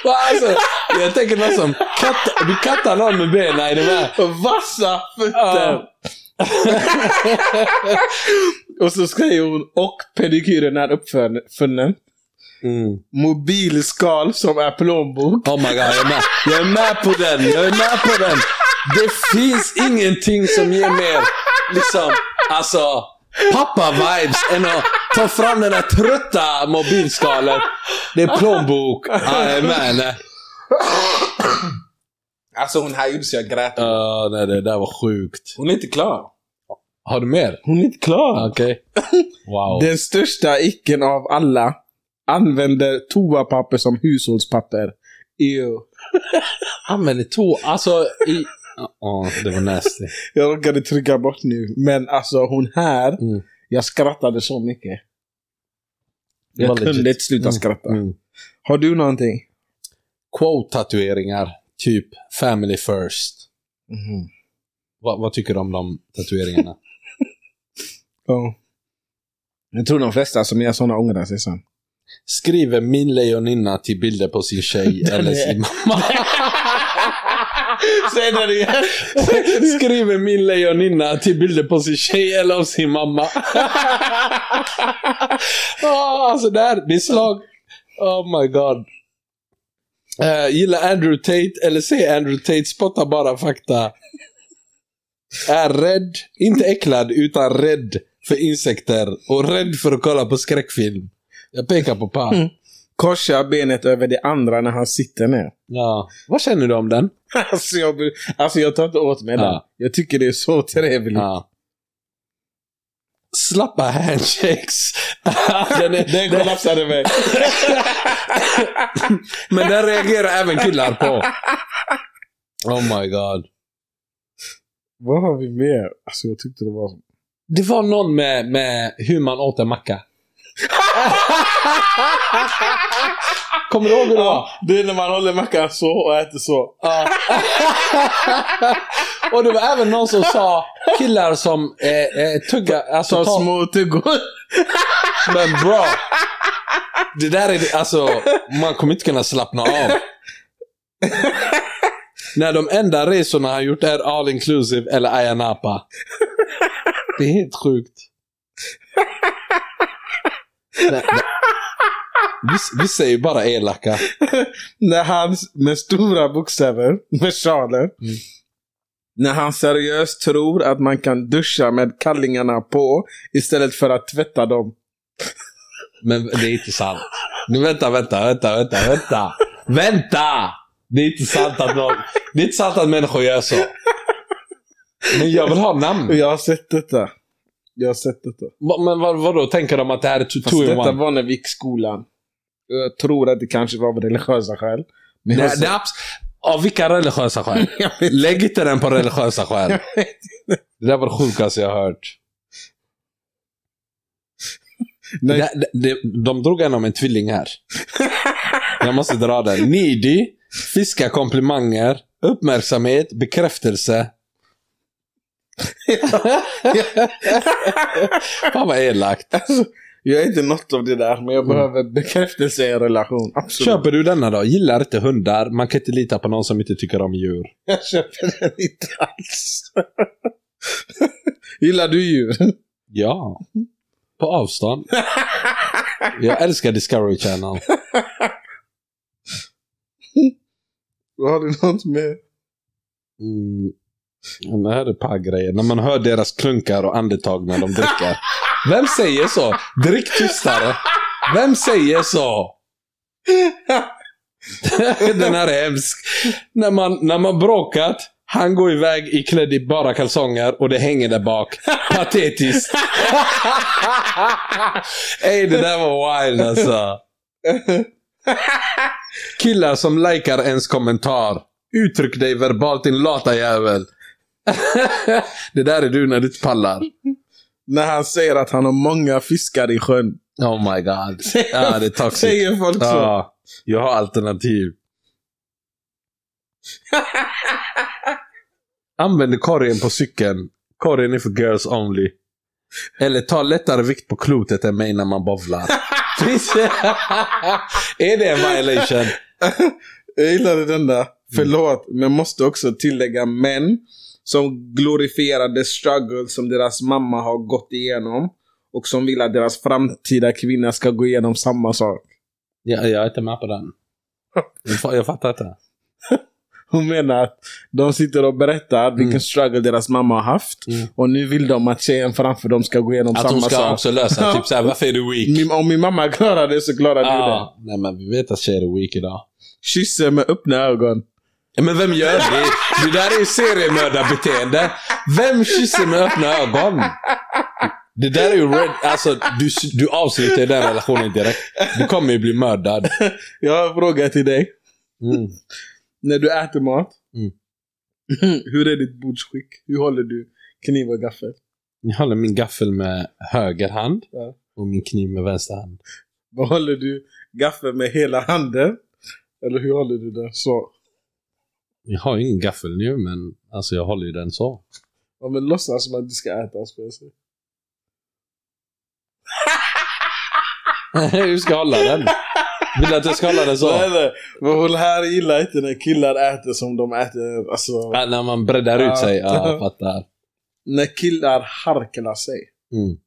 C: Va, alltså, jag tänker något som katt, du kattar någon med benen i det här.
B: Vassa fötter! [laughs] och så skrev hon och pedikyren är uppfunnen.
C: Mm.
B: Mobilskal som är plånbok.
C: Oh my god, jag är med. Jag är med på den. Jag är med på den. Det finns ingenting som ger mer, liksom, alltså, pappa-vibes än att ta fram den där trötta mobilskalet. Det är plånbok. Ja, jag är med eller?
B: Alltså hon här gjorde så jag grät.
C: Ja, nej, det där var sjukt.
B: Hon är inte klar.
C: Har du mer?
B: Hon är inte klar.
C: Okej. Wow.
B: Den största icken av alla använder toapapper som hushållspapper. Ew.
C: Använder två, alltså i... Ja, det var nasty.
B: Jag råkade trycka bort nu. Men alltså hon här,
C: Mm.
B: jag skrattade så mycket.
C: Det var
B: Jag kunde
C: legit.
B: inte sluta
C: Mm.
B: skratta.
C: Mm.
B: Har du någonting?
C: Quote-tatueringar, typ family first.
B: Mm.
C: Vad- vad tycker du om de tatueringarna?
B: Ja. Jag tror de flesta som gör sådana ångrar sig sen.
C: Skriver min lejoninna till bilder på
B: [laughs]
C: sin tjej eller sin mamma.
B: Säg det igen!
C: [laughs] Skriver min lejoninna till bilder på sin tjej eller av
B: [laughs]
C: sin mamma. oh, alltså där, det är slag. Oh my god. Eh, gilla Andrew Tate eller se Andrew Tate spotta bara fakta. Är rädd, inte äcklad, utan rädd för insekter och rädd för att kolla på skräckfilm. Jag pekar på Pa.
B: Mm. Korsa benet över det andra när han sitter ner. [laughs]
C: Ja. Vad känner du om den?
B: Alltså jag, blir- alltså jag tar inte åt mig den.
C: Ja.
B: Jag tycker det är så trevligt. [laughs]
C: Ja.
B: [laughs]
C: Slappa handshakes. den är,
B: Den
C: den,
B: kollapsade mig.
C: men den reagerar även killar på. Oh my god.
B: Vad har vi mer? Alltså jag tyckte det var...
C: Det var någon med, med hur man åt en macka. [laughs] Kommer du ihåg hur det var?
B: Det är när man håller mackan så och äter så.
C: Ja. och det var även någon som sa killar som eh, eh, tugga, alltså
B: Så
C: ta,
B: små tuggor.
C: men bra. Det där är, alltså, man kommer inte kunna slappna av. När de enda resorna han gjort är all inclusive eller Ayia Napa. Det är helt sjukt. Det- det- Vi, vi säger bara elaka.
B: när han med stora bokstäver, [laughs] versaler,
C: Mm.
B: när han seriöst tror att man kan duscha med kallingarna på istället för att tvätta dem.
C: Men det är inte sant. Nu vänta, vänta, vänta, vänta, vänta. Vänta! Det är inte sant att, någon, det är inte sant att människor gör så. Men jag vill ha
B: Och
C: namn.
B: jag har sett detta. Jag har sett detta.
C: Va- Men vad, vadå, tänker de att det här är two-
B: Fast
C: two in
B: detta
C: one?
B: var när vi gick skolan. Jag tror att det kanske var av religiösa skäl. Men alltså- jag
C: Det,
B: har
C: det
B: sett-
C: är abs- av vilka
B: [laughs]
C: religiösa skäl? Lägg inte den på religiösa skäl. Det där var det sjukaste jag har hört.
B: Nej.
C: Det, det, det, de drog en om en tvilling
B: [laughs]
C: här. Jag måste dra den. Needy, fiska komplimanger, uppmärksamhet, bekräftelse.
B: [laughs]
C: Fan vad elakt.
B: jag är inte något av det där, men jag
C: Mm.
B: behöver bekräftelse i en relation. Absolut.
C: Köper du denna då? Gillar inte hundar. Man kan inte lita på någon som inte tycker om djur.
B: Jag köper den inte alls. [laughs] Gillar du djur?
C: Ja. På
B: [laughs]
C: avstånd. Jag älskar Discovery Channel.
B: Har du något med?
C: Mm. Men Det här är par-grejer. När man hör deras klunkar och andetag när de dricker. Vem säger så? Drick tystare. Vem säger så? [laughs] Den här är hemsk. När man, när man bråkat, han går iväg i klädd i bara kalsonger och det hänger där bak. Patetiskt. [laughs] Ey, det där var wild alltså. Killar som likar ens kommentar. Uttryck dig verbalt din lata jävel. [laughs] det där är du när du inte pallar.
B: När han säger att han har många fiskar i sjön.
C: Oh my god. Ja, det är toxic.
B: Säger folk så?
C: Ja, jag har alternativ. Använd korgen på cykeln. Korgen är för girls only. Eller ta lättare vikt på klotet än mig när man bovlar. Finns det- är det en violation?
B: Jag gillade den
C: Mm.
B: där. Förlåt, men jag måste också tillägga män som glorifierar the struggle som deras mamma har gått igenom och som vill att deras framtida kvinna ska gå igenom samma sak.
C: Jag, jag är inte med på den. Jag, fa- jag fattar inte.
B: Hon menar att de sitter och berättar vilken struggle deras mamma har haft
C: Mm.
B: och nu vill de att tjejen framför dem ska gå igenom
C: Att
B: samma
C: hon ska
B: sak.
C: också lösa, typ såhär, varför är du weak?
B: Min, om min mamma klarar det så klarar du det.
C: Ja. Nej men vi vet att tjejer är weak idag.
B: Kysser med öppna ögon.
C: Men vem gör det? Det där är ju seriemördarbeteende. Vem kysser med öppna ögon? Det där är ju red, alltså du, du avslutar den relationen direkt. Du kommer ju bli mördad.
B: Jag har en fråga till dig.
C: Mm.
B: När du äter mat,
C: Mm.
B: [laughs] hur är ditt bordsskick? Hur håller du kniv och gaffel?
C: Jag håller min gaffel med höger hand
B: Ja.
C: och min kniv med vänster hand.
B: Vad håller du gaffeln med hela handen? Eller hur håller du den så?
C: Jag har ju ingen gaffel nu men alltså jag håller ju den [laughs] så.
B: Ja, men låtsas som att du ska äta ska jag säga.
C: Hur ska jag hålla den? Vill du att jag ska hålla den så?
B: Nej, nej. Men hon här gillar inte när killar äter som de äter. Alltså,
C: Ja, när man breddar ut
B: Ja.
C: sig. Ja, [laughs] jag fattar.
B: när killar harklar sig.
C: Mm.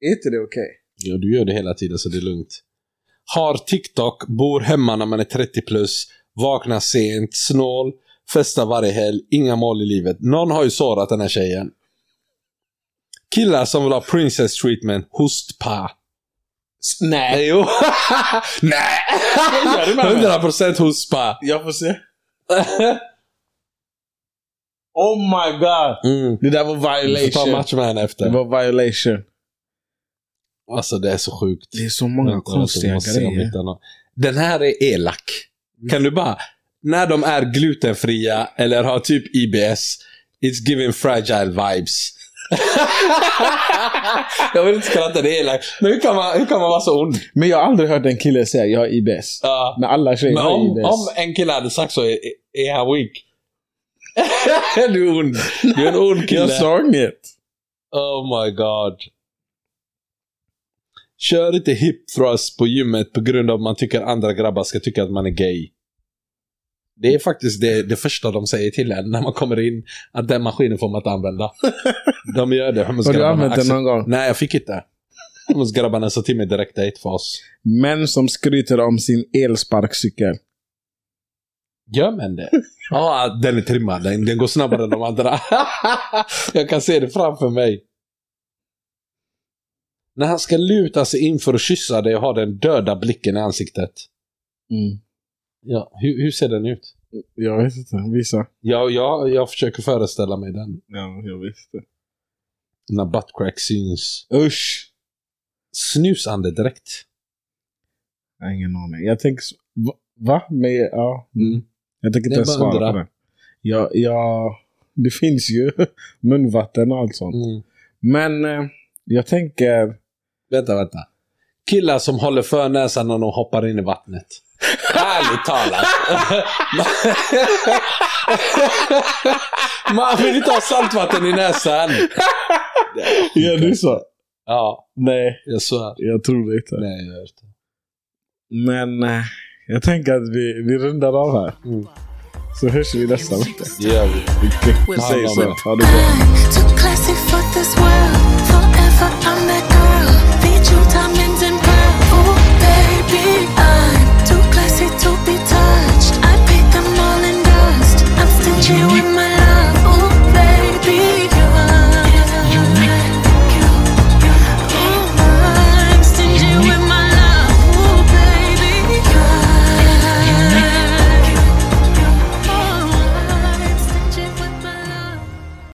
B: Är inte det okej?
C: Ja, du gör det hela tiden så det är lugnt. Har TikTok, bor hemma när man är 30 plus, vaknar sent, snål, festar varje helg, inga mål i livet. Någon har ju sårat den här tjejen. Killar som vill ha princess treatment, hostpa.
B: Nej. [laughs]
C: Jo. Nej!
B: Ja, det menar jag.
C: [laughs]
B: [laughs]
C: 100% hostpa.
B: Jag får se. Oh my god!
C: Mm.
B: Det där var
C: Du får ta
B: violation.
C: match med henne
B: Det
C: efter.
B: var violation.
C: Alltså det är så sjukt.
B: Det är så många
C: Vänta,
B: konstiga
C: jag måste se om jag
B: grejer.
C: hittar någon. Den här är elak. Kan du bara... När de är glutenfria eller har typ IBS, it's giving fragile vibes. [laughs] jag vill inte kalla det elakt. Men hur kan, man, hur kan man vara så ond?
D: Men jag har aldrig hört en kille säga jag är IBS.
C: Ja.
D: Men alla tjejer
C: Men
D: har
C: om,
D: IBS.
C: om en kille hade sagt så, är, är han weak? [laughs] du är ond. Du är en ond kille.
B: Jag sa inget.
C: Oh my god. Kör inte hip thrust på gymmet på grund av att man tycker andra grabbar ska tycka att man är gay. Det är faktiskt det, det första de säger till en när man kommer in. Att den maskinen får man inte använda. De gör det.
D: Har du
C: homosgrabbarna.
D: använt den
C: Axel-
D: någon gång?
C: Nej, jag fick inte. Grabbarna sa till mig direkt i ett fas.
B: Män som skryter om sin elsparkcykel.
C: Gör man det? [laughs] Ja, den är trimmad. Den, den går snabbare än de andra. [laughs] jag kan se det framför mig. När han ska luta sig in för att kyssa dig och ha den döda blicken i ansiktet.
B: Mm.
C: Ja, hur, hur ser den ut?
B: Jag vet inte. Visa.
C: Jag, jag, jag försöker föreställa mig den.
B: Ja, jag visste.
C: När buttcrack syns.
B: Usch!
C: Snusande direkt.
B: Jag har ingen aning. Jag tänker... s- va- Va? Men ja. Mm. Jag tänker inte
C: Jag
B: ens
C: bara
B: svara på
C: undrar.
B: det. Ja, ja, det finns ju [laughs] munvatten och allt sånt.
C: Mm.
B: Men eh, jag tänker...
C: Vänta, vänta. Killar som håller för näsan när de hoppar in i vattnet. Ärligt [laughs] talat. Man vill inte ha saltvatten i näsan.
B: [laughs] Ja, du sa.
C: Ja,
B: Nej,
C: jag svär.
B: jag tror det inte.
C: Nej, jag vet inte.
B: Men eh, jag tänker att vi, vi rundar av här.
C: Mm.
B: Så hörs vi nästa vecka.
C: Det gör vi.
B: Vi säger så.
C: bra.
B: Ha det bra.
A: Too classy for this world. Forever I'm that